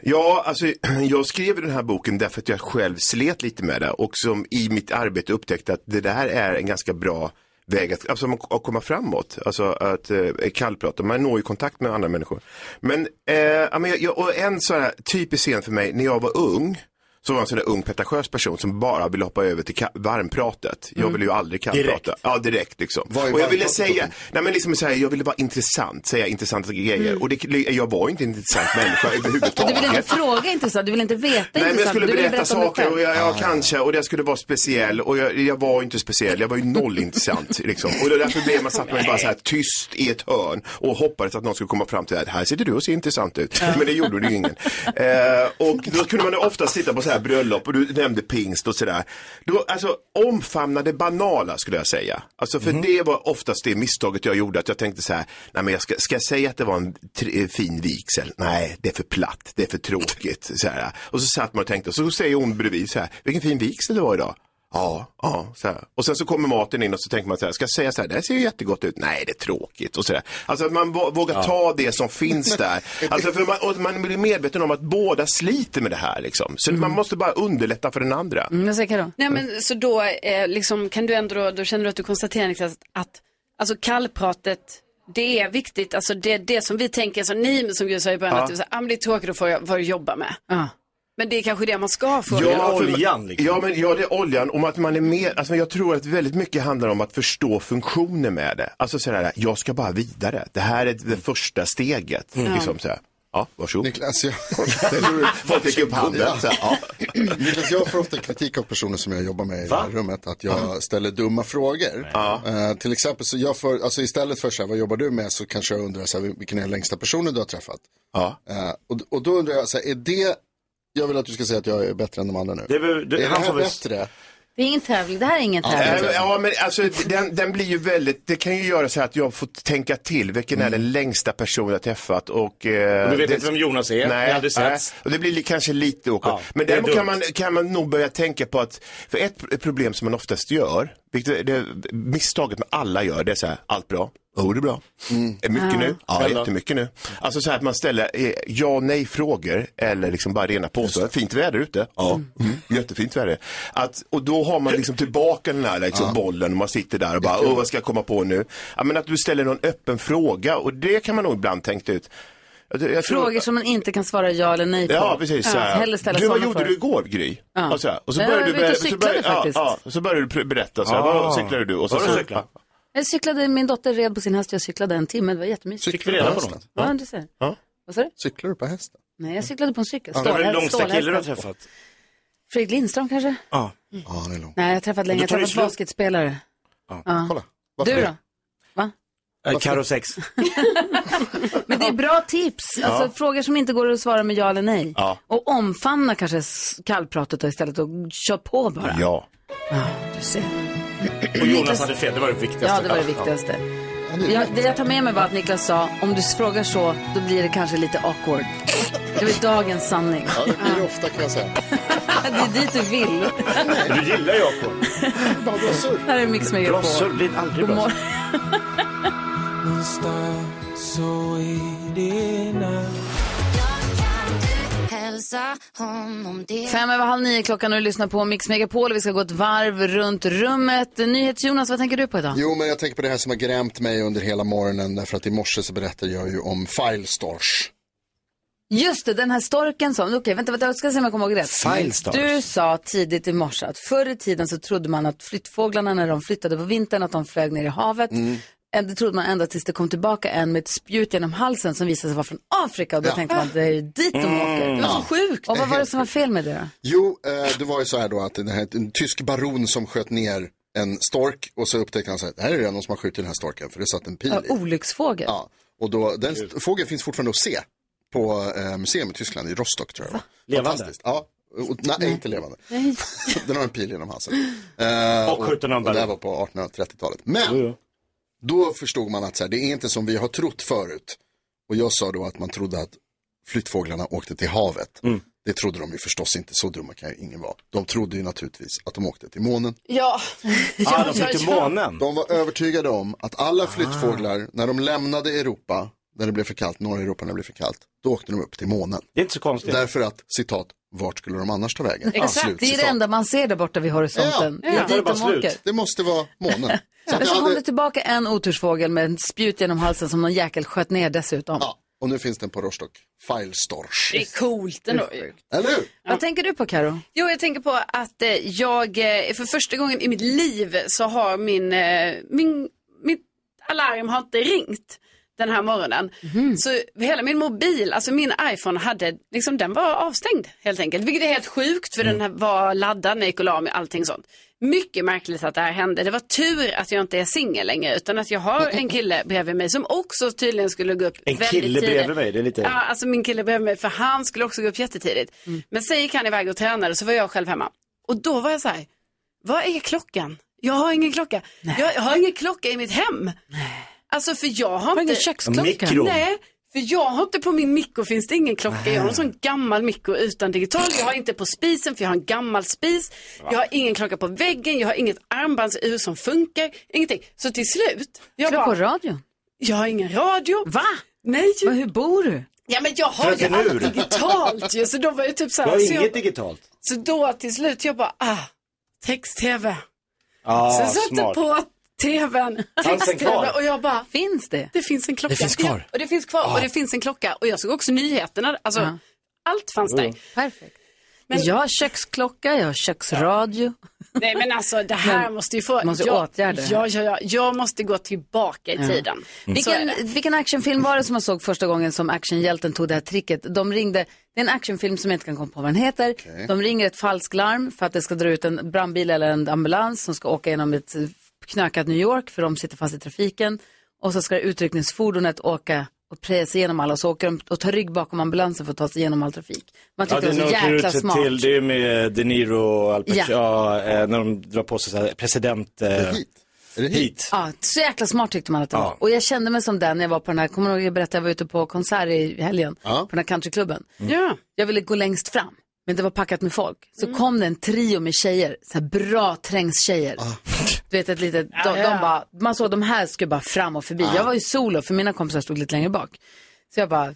J: Ja, alltså jag skrev den här boken därför att jag själv slet lite med det och som i mitt arbete upptäckte att det där är en ganska bra väg att, alltså, att komma framåt. Alltså att eh, kallprata, man når ju kontakt med andra människor. Men, eh, ja, men jag- jag, och en sån här typ- typisk scen för mig när jag var ung så var jag en sån där ung pretentiös person som bara ville hoppa över till ka- varmpratet. Jag ville ju aldrig kallprata.
C: Direkt.
J: Ja, direkt liksom.
D: Vad är
J: Och jag ville
D: varmpratet
J: säga,
D: då?
J: Nej men liksom så här, jag ville vara intressant, säga intressanta grejer. Och det, jag var ju inte en intressant människa
A: Och du vill inte
J: överhuvudtaget.
A: fråga intressant, du vill inte veta
J: Nej men jag
A: intressant.
J: skulle
A: du
J: berätta,
A: vill berätta om dig
J: saker
A: själv.
J: och jag, jag kanske, och jag skulle vara speciell och jag, jag var ju inte speciell, jag var ju noll intressant liksom. Och det var därför blev man satt man bara så här tyst i ett hörn och hoppades att någon skulle komma fram till det här, här sitter du och ser intressant ut. Men det gjorde det ju ingen. Eh, och då kunde man ju oftast sitta på så här bröllop och du nämnde pingst och sådär. Då, Alltså omfamna det banala skulle jag säga. Alltså för det var oftast det misstaget jag gjorde, att jag tänkte så här, nej men jag ska, ska jag säga att det var en tr- eh, fin vigsel? Nej, det är för platt, det är för tråkigt. Så här. Och så satt man och tänkte, och så säger hon bredvid så här, vilken fin vigsel det var idag. Ja, ja, så här. Och sen så kommer maten in och så tänker man så här, ska jag säga så här, det här ser ju jättegott ut, nej det är tråkigt och så där. Alltså att man vå- vågar ta det som finns där. Alltså för man, och man blir medveten om att båda sliter med det här liksom. Så man måste bara underlätta för den andra.
A: Mm, vad säger Karo?
F: Nej, men så då, eh, liksom, kan du ändå, då känner du att du konstaterar Niklas, att alltså, kallpratet, det är viktigt. Alltså, det, det som vi tänker, som ni men som Gud sa i början, att du, så här, ah, men det är tråkigt att få vad du jobbar med.
A: Ja.
F: Men det är kanske det man ska fråga.
C: Ja.
J: för-
C: oljan, liksom.
J: Ja, men, ja, det är oljan. Om att man är mer, alltså, jag tror att väldigt mycket handlar om att förstå funktionen med det. Alltså sådär, jag ska bara vidare. Det här är det första steget.
C: Mm.
J: Liksom, sådär. Ja, varsågod.
D: Niklas, jag...
J: Folk räcker upp handen. Såhär, ja.
D: Niklas, jag får ofta kritik av personer som jag jobbar med i det här rummet att jag ställer dumma frågor. Eh, till exempel, så jag för, alltså istället för så här, vad jobbar du med, så kanske jag undrar så här, vilken är den längsta personen du har träffat?
J: Ja.
D: Eh, och, och då undrar jag, så här, är det, jag vill att du ska säga att jag är bättre än de andra nu.
C: Det, är väl- det,
D: är det
C: han får
D: här
C: väl...
D: bättre
A: Det är ingen tävling, det här är ingen
M: Ja,
A: tävling.
M: ja, men alltså den, den blir ju väldigt, det kan ju göra så här att jag får tänka till, vilken är den längsta personen jag träffat och... eh,
C: Mm. Och du vet
M: det-
C: inte vem Jonas är, ni har
M: Nej,
C: aldrig
M: nej.
C: setts.
M: Och det blir li- kanske lite okej.
C: Ja,
M: men
C: det är
M: däremot kan
C: dumt.
M: man, kan man nog börja tänka på att, för ett pro- problem som man oftast gör, vilket det, det misstaget med alla gör, det är så här, allt bra? Jo, det är bra. Är mycket
A: Ja.
M: nu? Ja,
C: Själv då?
M: jättemycket nu. Alltså så här att man ställer eh, ja och nej-frågor eller liksom bara rena påståenden. Fint väder ute? Ja, mm. jättefint väder. Att, och då har man liksom tillbaka den här liksom, bollen och man sitter där och bara, åh vad ska jag komma på nu? Ja, men att du ställer någon öppen fråga och det kan man nog ibland tänka ut. Jag, jag tror-
A: Frågor som man inte kan svara ja eller nej på.
M: Ja, precis. så här.
A: Hellre ställa
M: du, vad
A: sådana
M: gjorde
A: frågor.
M: du igår, Gry?
A: Ja.
M: Och så, här. och så
A: Jag
M: började
A: var
M: du,
A: ute och
M: ber- så
A: cyklade
M: började- ja,
A: faktiskt.
M: ja, och så började du pr- berätta, så här,
C: Ah.
M: vad cyklade du? Och så,
C: Var
M: så,
C: du cyklade?
A: Jag cyklade, min dotter red på sin häst och jag cyklade en timme. Det var jättemysigt.
C: Fick vi reda på något?
A: Ja, du ser.
M: Ja.
A: Vad sa du?
D: Cyklar du på hästen?
A: Nej, jag cyklade på en cykel.
C: Det var den
A: Stålhäst-
C: långsta killen du har
A: Stålhästen.
C: träffat.
A: Fredrik Lindström kanske?
C: Ja.
D: Ja, det är långt.
A: Nej, jag har träffat länge.
C: då
A: Jag
C: tar
A: har
C: det
A: träffat
C: slut.
A: basketspelare.
C: Ja.
A: Ja.
D: Kolla. Varför
A: Du
D: det?
A: då?
C: Äh, Karo 6.
A: Men det är bra tips. Alltså frågor som inte går att svara med ja eller nej.
M: Ja.
A: Och omfamna kanske s- kallpratet då istället och kör på bara.
M: ja.
A: Du ser.
C: Och Jonas hade fel, det var det viktigaste.
A: Ja, det var det viktigaste.
D: det är
A: Jag, det jag tar med mig var att Niklas sa, om du frågar så, då blir det kanske lite awkward. Det var dagens sanning.
D: Ja, det blir det ofta kan jag säga.
A: Det är dit du vill.
C: Du gillar Jakob.
D: Bara brassor.
A: Här är Mix Megapol.
C: Brossor blir aldrig
A: God
C: bra.
A: morgon. Fem över halv nio klockan och du lyssnar på Mix Megapol. Vi ska gå ett varv runt rummet. NyhetsJonas, vad tänker du på idag?
D: Jo, men jag tänker på det här som har grämt mig under hela morgonen. Därför att i morse så berättade jag ju om Filestars.
A: Just det, den här storken som, okej vänta, vänta, jag ska se om jag kommer ihåg rätt.
C: Filestars.
A: Du sa tidigt i morse att förr i tiden så trodde man att flyttfåglarna när de flyttade på vintern att de flög ner i havet. Eh, Det trodde man ända tills det kom tillbaka en med ett spjut genom halsen som visade sig vara från Afrika och då
D: Ja.
A: tänkte man det är dit de åker. Det var så sjukt. Och vad var det som var fel med det då?
D: Jo, eh, det var ju så här då att den här, en tysk baron som sköt ner en stork och så upptäckte han så här, det här är det någon som har skjutit den här storken för det satt en pil
A: Ja, oh.
D: i.
A: olycksfågel.
D: Ja, och då, den st- fågeln finns fortfarande att se på eh, museum i Tyskland, i Rostock tror jag. det var.
C: Levande?
D: Fantastiskt. Ja, och, nej, inte levande.
A: Nej.
D: den har en pil genom halsen. Eh,
C: Och skjuter någon
D: och det här
C: baron.
D: var på 1830-talet. Men då förstod man att så här, det är inte som vi har trott förut. Och jag sa då att man trodde att flyttfåglarna åkte till havet. Det trodde de ju förstås inte, så dumma kan ju ingen vara. De trodde ju naturligtvis att de åkte till månen.
F: Ja.
C: Ah, de fick till månen.
D: De var övertygade om att alla flyttfåglar, när de lämnade Europa, när det blev för kallt, norra Europa när det blev för kallt, då åkte de upp till månen.
C: Det är inte så konstigt.
D: Därför att, citat, vart skulle de annars ta vägen? Slut,
A: Exakt, det är det
D: citat.
A: enda man ser där borta vid horisonten.
D: Ja,
A: Det
C: ja.
A: är
C: Det
A: dit
C: var bara
A: de
C: slut.
A: åker.
D: Det måste vara månen. Så att
A: Men
D: jag
A: så kom det
D: hade...
A: tillbaka en otursfågel med en spjut genom halsen som någon jäkel sköt ner dessutom.
D: ja, och nu finns den på Rostock. Filestorch.
F: Det är coolt ändå.
D: Eller hur?
A: Vad tänker du på Karo?
F: Jo, jag tänker på att eh, jag eh, för första gången i mitt liv så har min, eh, min mitt alarm har inte ringt den här morgonen.
C: Mhm.
F: Så hela min mobil, alltså min iPhone hade, liksom den var avstängd helt enkelt. Vilket är helt sjukt för den här
C: Mm.
F: var laddad när jag gick och la mig, allting sånt. Mycket märkligt att det här hände. Det var tur att jag inte är singel längre utan att jag har en kille bredvid mig som också tydligen skulle gå upp
C: En
F: väldigt
C: kille
F: tidigt.
C: bredvid mig, det är lite...
F: Ja, alltså min kille behöver mig för han skulle också gå upp jättetidigt.
A: Mm.
F: Men sen gick han iväg och tränade så var jag själv hemma. Och då var jag så här, vad är klockan? Jag har ingen klocka. Jag, jag har ingen klocka i mitt hem. Alltså för jag har
A: Har
F: inte...
A: ingen köksklocka?
C: Mikro.
F: Nej, för jag har inte på min mikro finns det ingen klocka. Jag har en sån gammal mikro utan digital. Jag har inte på spisen för jag har en gammal spis. Jag har ingen klocka på väggen. Jag har inget armbandsur som funkar. Ingenting. Så till slut, jag,
A: Slå på
F: bara,
A: radion.
F: jag har ingen radio.
A: Va?
F: Nej,
A: Men hur bor du?
F: Ja men jag har ju
C: Fröken Ur.
F: allt digitalt ju, så då var jag typ så
C: Jag
F: här,
C: har
F: så,
C: inget
F: jag,
C: digitalt.
F: så då till slut jag bara, ah, text-tv.
C: Ah,
F: så jag satte
C: smart.
F: på tvn,
C: Fanns den
F: text-tv
C: kvar?
F: och jag bara,
A: Finns det?
F: det finns en klocka.
C: Det finns kvar.
F: Ja, och det finns kvar och det finns en klocka och jag såg också nyheterna, alltså
A: Ja.
F: allt fanns där.
A: Perfekt.
F: Men-
A: Jag har köksklocka, jag har köksradio.
F: Nej men alltså det här måste ju få,
A: måste
F: jag,
A: åtgärda det här.
F: ja, ja, ja, jag måste gå tillbaka i tiden.
C: Mm.
F: Så är
A: Vilken,
F: det.
A: vilken actionfilm var det som jag såg första gången som actionhjälten tog det här tricket? De ringde, det är en actionfilm som jag inte kan komma på vad den heter. De ringer ett falsklarm för att det ska dra ut en brandbil eller en ambulans som ska åka genom eh, ett knökat New York för de sitter fast i trafiken. Och så ska utryckningsfordonet åka och prejar sig igenom alla och så åker de och tar rygg bakom ambulansen för att ta sig igenom all trafik. Man
C: Ja,
A: tyckte
C: det
A: det var så
C: åker
A: jäkla
C: ut sig
A: smart.
C: till, det är ju med De Niro och Al Pacino,
A: Ja.
C: ja. eh, när de drar på sig så här president... Eh, Är det hit?
A: Ja, så jäkla smart tyckte man att det
C: Ja.
A: var. Och jag kände mig som den när jag var på den här, kommer du ihåg jag berättade jag var ute på konsert i helgen,
C: Ja.
A: på den här countryklubben.
F: Mm. Ja.
A: Jag ville gå längst fram, men det var packat med folk. Så kom det en trio med tjejer, så här bra trängstjejer. Du vet ett litet, de, de bara, man såg de här skulle bara fram och förbi. Jag var ju solo för mina kompisar stod lite längre bak. Så jag bara,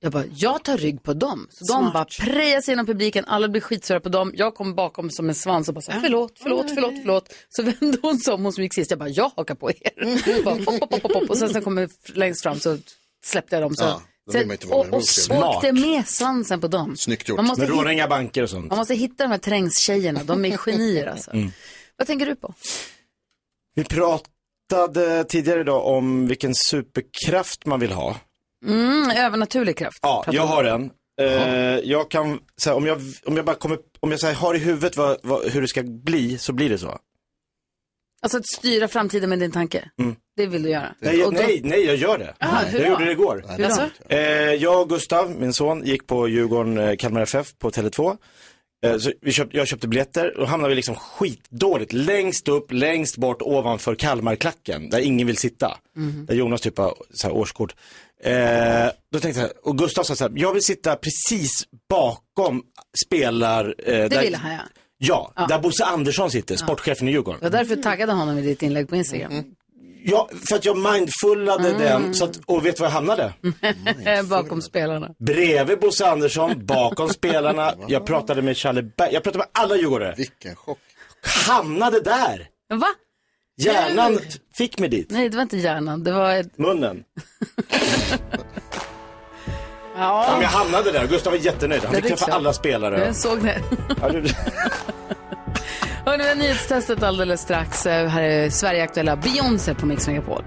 A: jag bara, jag tar rygg på dem. Så de
F: Smart.
A: bara prejar sig genom publiken, alla blir skitsura på dem. Jag kom bakom som en svans och bara så här, förlåt, förlåt, förlåt, förlåt. Så vände hon sig om, hon som gick sist. Jag bara, jag hakar på er. Bara, pop, pop, pop, pop, pop. Och sen så kom jag längst fram så släppte jag dem. Så.
D: Ja, då vill
A: Sen-
D: man inte vara
A: och
D: med
A: och
D: emot, ser
A: och
D: jag.
A: åkte med svansen på dem.
D: Snyggt gjort.
A: Man måste
C: Men
A: hitta-
C: rånar inga banker och sånt.
A: Man måste hitta de här trängstjejerna, de är genier alltså.
C: Mm.
A: Vad tänker du på?
C: Vi pratade tidigare idag om vilken superkraft man vill ha.
A: Mm, övernaturlig kraft.
C: Ja, jag har en. Eh, jag kan, så här, om, jag, om jag bara kommer, om jag så här, har i huvudet vad, vad, hur det ska bli, så blir det
A: Mm.
C: så.
A: Alltså att styra framtiden med din tanke.
C: Mm.
A: Det vill du göra.
C: Nej, jag,
A: Och då-
C: nej, nej, jag gör det.
A: Ah, hur
C: jag
A: då?
C: gjorde det igår.
A: Hur då?
C: Eh, jag och Gustav, min son, gick på Djurgården eh, Kalmar FF på Tele2. Eh, så vi köpt, jag köpte biljetter och hamnade vi liksom skitdåligt. Längst upp, längst bort ovanför Kalmarklacken, där ingen vill sitta. Där Jonas typ har så här, årskort. Eh, då tänkte jag, så här, och Gustav sa så här, jag vill sitta precis bakom spelar... Eh,
A: Det vill han ja.
C: Ja, där Bosse Andersson sitter, sportchefen i Djurgården.
A: Det var därför jag taggade honom i ditt inlägg på Instagram.
C: Mm. Ja, för att jag mindfullade den, så att, och vet du var jag hamnade?
A: Äh, Bakom spelarna.
C: Bredvid Bosse Andersson, bakom spelarna. Jag pratade med Charlie Berg, jag pratade med alla djurgårdare.
D: Vilken chock.
C: Hamnade där!
A: Va?
C: Hjärnan fick mig dit.
A: Nej, det var inte hjärnan. Det var ett...
C: Munnen.
A: Ja.
C: Men jag hamnade där. Gustav var jättenöjd. Han
A: Det är
C: fick träffa
A: klart.
C: alla spelare.
A: Jag såg det.
C: Ja, du-
A: Hörni, vi har nyhetstestet alldeles strax. Eh, Här är Sverige aktuella Beyoncé på Mix Megapol.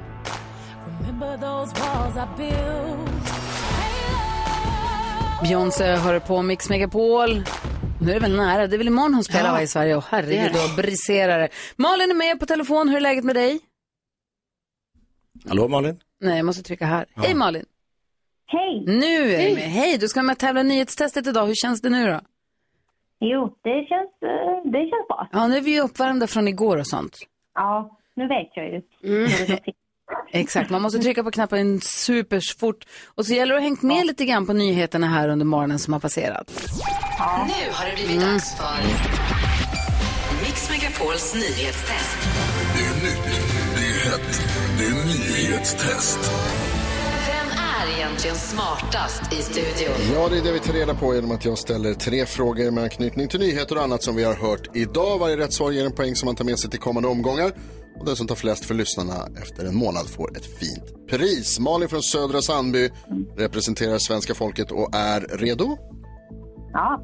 A: Beyoncé hör på Mix Megapol. Nu är det väl nära. Det är väl imorgon hon spelar
F: Ja.
A: va, i Sverige. Och herregud,
F: Det är det.
A: då briserar det. Malin är med på telefon. Hur är läget med dig?
C: Hallå Malin?
A: Nej, jag måste trycka här.
C: Ja.
A: Hej Malin!
N: Hej!
A: Nu är du med. Hej, du ska med och tävla i nyhetstestet idag. Hur känns det nu då?
N: Jo, det känns, eh, det känns bra.
A: Ja, nu är vi ju uppvärmda från igår och sånt.
N: Ja, nu vet jag ju.
A: Exakt, man måste trycka på knappen superfort. Och så gäller det att ha hängt med lite grann på nyheterna här under morgonen som har passerat.
O: Nu har det blivit dags för Mix Megapols nyhetstest.
E: Det är nytt, det är hett, det är nyhetstest.
O: Vem är egentligen smartast i studion?
D: Ja, det är det vi tar reda på genom att jag ställer tre frågor med anknytning till nyheter och annat som vi har hört idag. Varje rätt svar ger en poäng som man tar med sig till kommande omgångar. Och den som tar flest för lyssnarna efter en månad får ett fint pris. Malin från Södra Sandby representerar svenska folket och är redo.
N: Ja.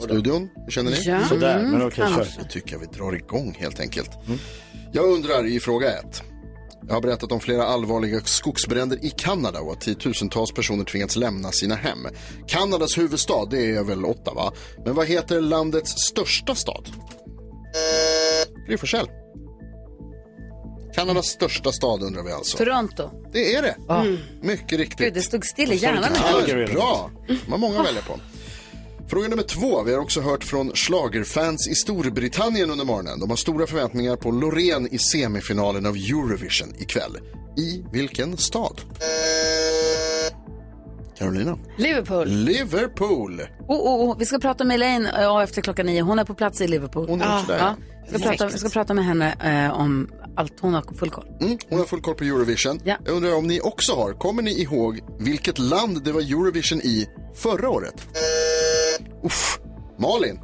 D: Studion, hur känner ni?
N: Ja,
A: Mm,
N: Sådär, men okej, kör.
D: Då tycker jag vi drar igång helt enkelt. Jag undrar i fråga ett. Jag har berättat om flera allvarliga skogsbränder i Kanada och att tiotusentals personer tvingats lämna sina hem. Kanadas huvudstad, det är väl Ottawa. Men vad heter landets största stad? Gry Forssell. Kanadas största stad undrar vi alltså.
A: Toronto.
D: Det är det. Mycket riktigt.
A: Gud, det stod still i hjärnan.
D: Ja, bra. De har många att välja på. Fråga nummer två. Vi har också hört från schlagerfans i Storbritannien under morgonen. De har stora förväntningar på Loreen i semifinalen av Eurovision ikväll. I vilken stad? Carolina.
A: Liverpool.
D: Liverpool.
A: Oh, oh, oh. Vi ska prata med Elaine ja, efter klockan nio. Hon är på plats i Liverpool.
D: Hon är också där,
A: Ja.
D: ja.
A: Vi ska prata, vi ska prata med henne eh, om allt. Hon har full koll.
D: Mm, hon har full koll på Eurovision. Jag undrar om ni också har. Kommer ni ihåg vilket land det var Eurovision i förra året? Uff. Malin.
N: Eh,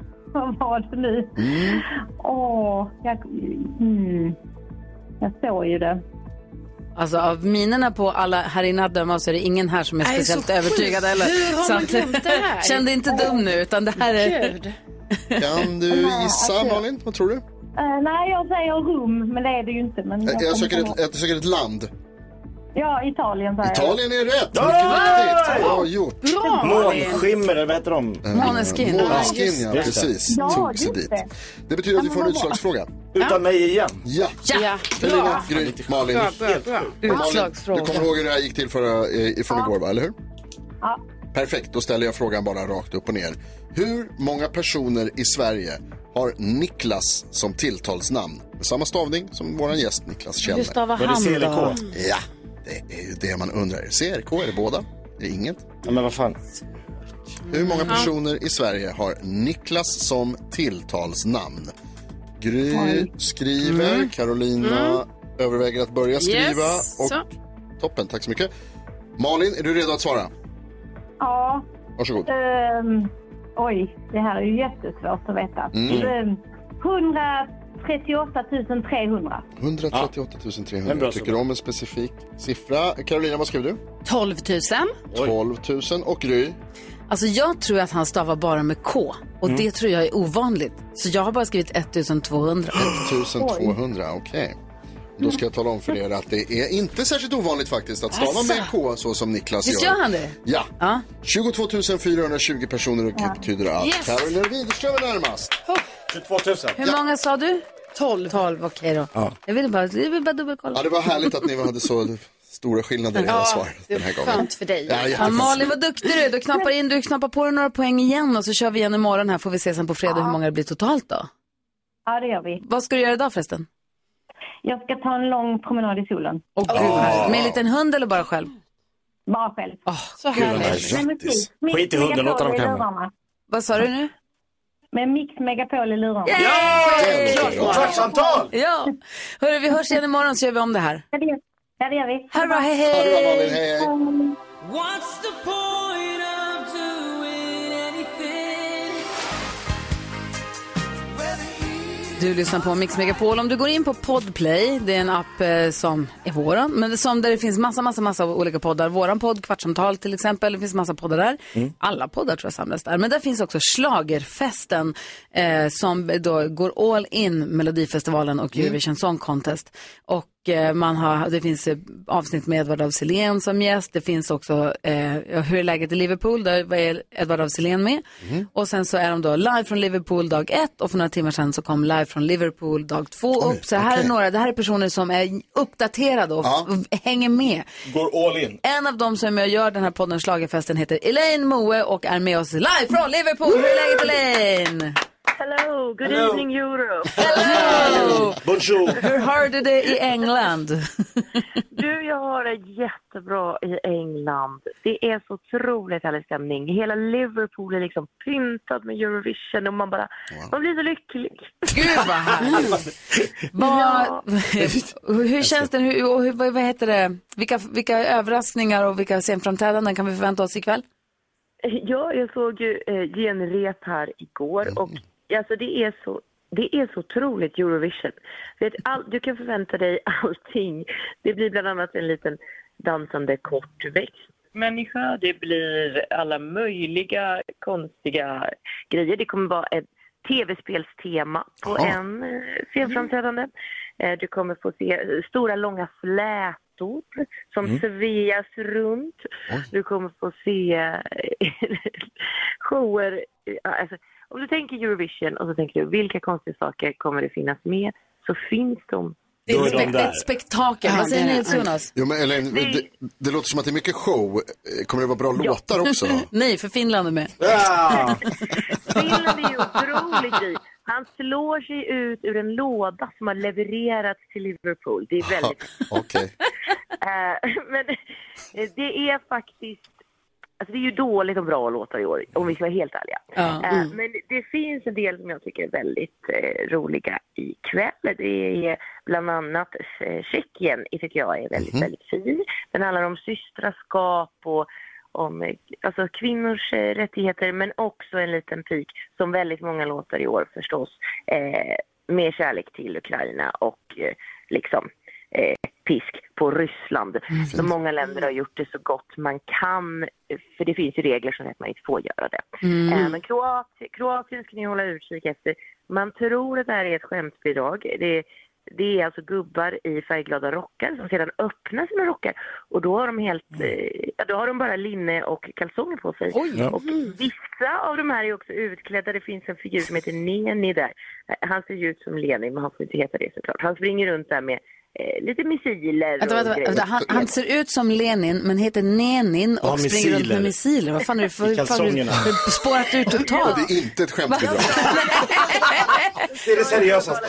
N: vad var det nu?
D: Mm.
N: Åh, jag, mm, jag såg ju det.
A: Alltså av minerna på alla här inne att döma så är det ingen här som är
N: Nej,
A: speciellt
N: så sjukt.
A: övertygad. Eller?
N: Hur har
A: Så
N: man
A: att-
N: glömt det här?
A: Känn dig inte dum nu, utan det här är...
D: Kan du gissa, Malin? Vad tror du?
N: Eh, nej, jag säger rum, men det är det ju inte. Men
D: Jag,
N: kommer
D: söker
N: ihåg.
D: ett, jag söker ett land.
N: Ja, Italien säger jag.
D: Italien är rätt!
C: Ja!
D: Mycket riktigt! Bra gjort!
N: Bra, Malin.
C: Månskimmer, eller vad heter de?
D: Eh,
N: Måneskin.
D: Måneskin, ja.
N: Ja, just det.
D: Precis.
N: Ja,
D: Tog sig
N: just
D: dit.
N: det.
D: Det betyder att vi får en
N: vad
D: utslagsfråga.
C: Utan mig igen.
D: Ja.
P: Ja,
D: Carolina, Gry, Malin.
P: Bra, bra, bra.
D: Och Malin,
P: Utslagsfråga.
D: du kommer ihåg hur det här gick till förra, eh, från
N: Ja.
D: igår, va? eller hur?
N: Ja.
D: Perfekt, då ställer jag frågan bara rakt upp och ner. Hur många personer i Sverige har Niklas som tilltalsnamn? Med samma stavning som vår gäst Niklas Kjellner.
A: Hur stavar Var det han då? CLK?
D: Ja, det är ju det man undrar. CRK, är det båda? Är det inget?
C: Ja, men vad fan.
D: Hur många
A: Mm.
D: personer i Sverige har Niklas som tilltalsnamn? Gry
A: Oj.
D: skriver,
A: Mm.
D: Carolina
A: Mm.
D: överväger att börja skriva.
A: Yes,
D: Och
A: så.
D: Toppen, tack så mycket. Malin, är du redo att svara?
N: Ja.
D: Varsågod.
N: Ehm, oj, det här är ju jättesvårt att veta.
D: Mm.
N: Ehm, 138 300.
D: 138 300.
N: Men bra
D: tycker om en specifik siffra. Carolina, vad skriver du?
A: 12 000.
D: 12 000. Och Gry?
A: Alltså jag tror att han stavar bara med K och
D: Mm.
A: det tror jag är ovanligt. Så jag har bara skrivit 1200.
D: 1200, okej. Då ska jag tala om
N: Mm.
D: för er att det är inte särskilt ovanligt faktiskt att stava
A: Alltså.
D: med K så som Niklas
A: Visst gör han det?
D: Ja. 22 420 personer och det betyder att
A: Yes.
D: Carolina Widerström är närmast.
C: 22 000.
A: Hur många sa du? 12. 12, okej då.
D: Ja.
A: Jag ville bara, jag ville bara dubbelkolla.
D: Ja, det var härligt att ni hade så stora skillnader i era
A: Ja,
D: svar den här gången. Ja,
A: Ja,
D: jätteskönt.
A: Malin, vad duktig du är. Du knappar, in, du knappar på dig några poäng igen och så kör vi igen imorgon här. Får vi se sen på fredag hur många det blir totalt då.
N: Ja, det gör vi.
A: Vad ska du göra idag förresten?
N: Jag ska ta en lång promenad i solen.
A: Åh, gud, vad härligt. Med en liten hund eller bara själv?
N: Bara själv.
A: så
N: gud, vad
A: härligt.
N: härligt. Nej, men precis. Mix
A: Skit i hunden,
N: Megapol
A: låt honom
N: i
A: komma.
N: lurarna.
A: Vad sa du nu?
N: Med Mix Megapol i lurarna.
A: Självklart. Ja! Hörru, vi hörs igen imorgon så gör vi om det här.
N: Ja, det gör- ja, det gör vi.
A: Ha det bra, hej, hej. Ha det bra, Malin, hej, hej.
Q: What's the point of doing anything?
A: Du lyssnar på Mix Megapol. Om du går in på Podplay, det är en app eh, som är våran, men det är som där det finns massa, massa, massa olika poddar. Våran podd, Kvartsamtal till exempel, det finns massa poddar där.
Q: Mm.
A: Alla poddar tror jag samlas där. Men där finns också Schlagerfesten eh, som då går all in Melodifestivalen och Eurovision Song Contest. Och eh, man har, det finns eh, avsnitt med Edvard af Sillén som gäst. Det finns också eh, ja, Hur är läget i Liverpool? Där var Edvard af Sillén med.
R: Mm.
A: Och sen så är de då live från Liverpool dag ett och för några timmar sedan så kom live från Liverpool dag två upp. Så här är
R: okej.
A: några, det här är personer som är uppdaterade och
R: Ja.
A: f- hänger med.
C: Går all in.
A: En av dem som är med och gör den här podden Schlagerfesten heter Elaine Moe och är med oss live från Liverpool. Hur är läget Elaine?
M: Hello, good
A: Hello.
M: evening Europe.
C: Bonjour.
A: Hur har du det i England?
M: Du, jag har det jättebra i England. Det är så otroligt härlig stämning. Hela Liverpool är liksom pyntad med Eurovision och man bara, man blir så lycklig.
A: Gud vad härligt. Vad, hur känns det? Hur, och hur, vad vad heter det? Vilka, vilka överraskningar och vilka scenframträdanden kan vi förvänta oss ikväll?
M: Ja, jag såg ju eh, genrep här igår och alltså det är så det är så otroligt Eurovision. Vet, all, du kan förvänta dig allting. Det blir bland annat en liten dansande kortväxt människa. Det blir alla möjliga konstiga grejer. Det kommer vara ett tv-spelstema på
Q: Ja.
M: en eh, scenframträdande. Eh, Du kommer få se eh, stora långa flätor som
Q: Mm.
M: sveas runt. Du kommer få se eh, shower. eh, Alltså, om du tänker Eurovision och så tänker du vilka konstiga saker kommer det finnas med så finns de.
A: Det är ett, spek- ett spektakel. Vad säger ni Jonas?
D: Jo, men, Elaine, det, det låter som att det är mycket show. Eh, Kommer det vara bra låtar också?
A: Nej, för Finland är med.
M: Finland är ju otrolig grej. Han slår sig ut ur en låda som har levererats till Liverpool. Det är väldigt...
D: Okej.
M: Eh, men eh, det är faktiskt... Alltså det är ju dåligt och bra låtar i år, om vi ska vara helt ärliga.
Q: Ja.
M: Eh,
Q: Mm.
M: Men det finns en del som jag tycker är väldigt eh, roliga ikväll. Det är bland annat eh, Tjeckien, eh, tycker jag är väldigt,
Q: Mhm.
M: väldigt fin. Den handlar om systraskap och om eh, alltså, kvinnors eh, rättigheter, men också en liten pik, som väldigt många låtar i år förstås, eh, med kärlek till Ukraina och eh, liksom eh, pisk på Ryssland. Så många länder har gjort det så gott man kan, eh, för det finns ju regler som säger att man inte får göra det.
Q: Mm.
M: Eh, men Kroatien, Kroatien ska ni hålla utkik efter. Man tror att det här är ett skämtbidrag. Det, Det är alltså gubbar i färgglada rockar som sedan öppnar sina rockar och då har de helt, eh, ja, då har de bara linne och kalsonger på sig.
S: Oj.
M: Och
A: Mm.
M: vissa av de här är också utklädda. Det finns en figur som heter Neni där. Han ser ju ut som Lenin men han får inte heta det såklart. Han springer runt där med eh, lite missiler
A: Vänta, vänta,
M: grejer.
A: vänta. Han, han ser ut som Lenin men heter Nenin och
M: Ja,
A: springer runt
M: missiler.
A: med missiler. Vad fan är det för...
M: I
A: vad fan är det-
M: kalsongerna.
A: det har Spårat ut totalt.
T: Det är inte ett skämt. det är bra.
C: Det är det seriösaste.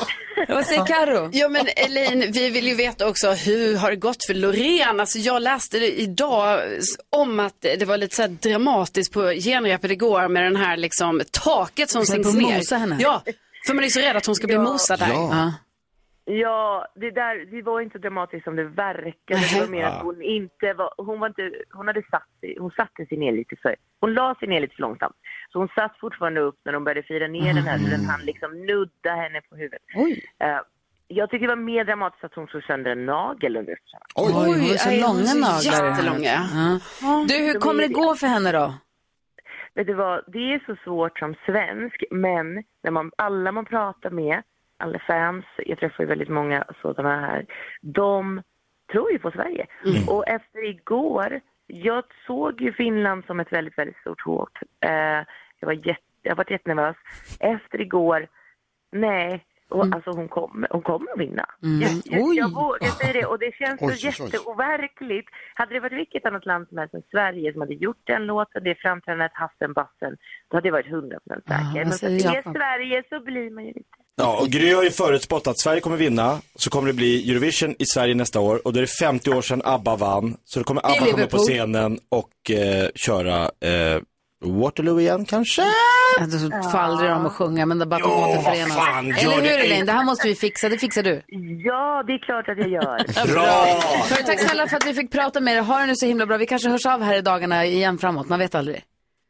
A: Vad säger Karo?
F: Ja men Elaine, vi vill ju veta också hur har det gått för Loreen? Alltså jag läste det idag om att det var lite så här dramatiskt på genrepet igår med den här liksom taket som
A: Som
F: sänks
A: på
F: ner.
A: mosa henne.
F: Ja, för man är så rädd att hon ska bli mosad där.
M: Ja, det, där, det var inte dramatiskt som det verkade. Det var mer att hon inte var, hon var inte, hon hade satt sig, hon satte sig ner lite för, hon la sig ner lite för långsamt. Så hon satt fortfarande upp när de började fira ner den här, så den hann liksom nudda henne på huvudet. Eh, jag tycker det var mer dramatiskt att hon slog sönder en nagel under öppsarna.
A: Oj, hon har så
M: aj, hon
A: långa
M: har så
A: naglar.
M: jättelånga.
A: Ja. Du, hur
M: De
A: kommer
M: är
A: det gå för henne då?
M: Vet du vad, det är så svårt som svensk, men när man, alla man pratar med, alla fans, jag träffar ju väldigt många sådana här, de tror ju på Sverige. Och efter igår, jag såg ju Finland som ett väldigt, väldigt stort hot. Eh, jag, var jätte, jag har varit jättenervös. Efter igår, nej, och, alltså hon kommer hon kommer att vinna. Jag, jag, jag vågar säga det och det känns
S: Oj,
M: så
S: oj, oj.
M: jätteoverkligt. Hade det varit vilket annat land som helst än Sverige som hade gjort den låten, det framträdandet, hassen, bassen, då hade jag varit 100% säker. Men för att det är Sverige så blir man ju lite...
C: Ja, och Gry har ju förutspått att Sverige kommer vinna, så kommer det bli Eurovision i Sverige nästa år och då är det 50 år sedan ABBA vann, så då kommer
S: I
C: ABBA komma på
S: Liverpool.
C: scenen och eh, köra eh, Waterloo igen kanske?
A: Alltså, så får aldrig de att sjunga, men det är bara att de
C: Ja,
A: återförenas.
C: vad fan, gör
A: Eller hur
C: det
A: Elaine?
C: inte.
A: Det här måste vi fixa, det fixar du.
M: Ja, det är klart att jag gör.
C: Bra!
A: Hörru, tack snälla för att vi fick prata med dig. Ha det nu så himla bra. Vi kanske hörs av här i dagarna igen framåt, man vet aldrig.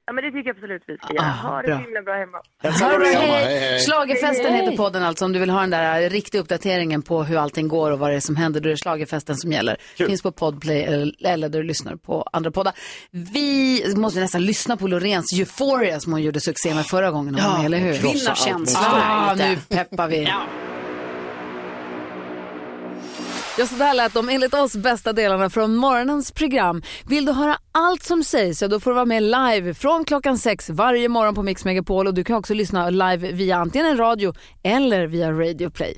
M: Ja, men det tycker jag absolut vi ska göra. Ha det
A: bra.
M: så himla bra hemma.
A: Ha det bra,
M: Hej,
A: hej.
M: hej.
A: Schlagerfesten
M: Hej, hej.
A: heter podden alltså. Om du vill ha den där riktiga uppdateringen på hur allting går och vad det är som händer, då är det Schlagerfesten som gäller. Finns på Podplay eller, eller där du lyssnar på andra poddar. Vi måste nästan lyssna på Loreens Euphoria som hon gjorde succé med förra gången. hon var med, eller hur?
F: vinnarkänslan här
A: Ah,
F: lite.
A: nu peppar vi. Ja, så där lät de enligt oss bästa delarna från morgonens program. Vill du höra allt som sägs så då får du vara med live från klockan sex varje morgon på Mix Megapol och du kan också lyssna live via antingen en radio eller via Radio Play.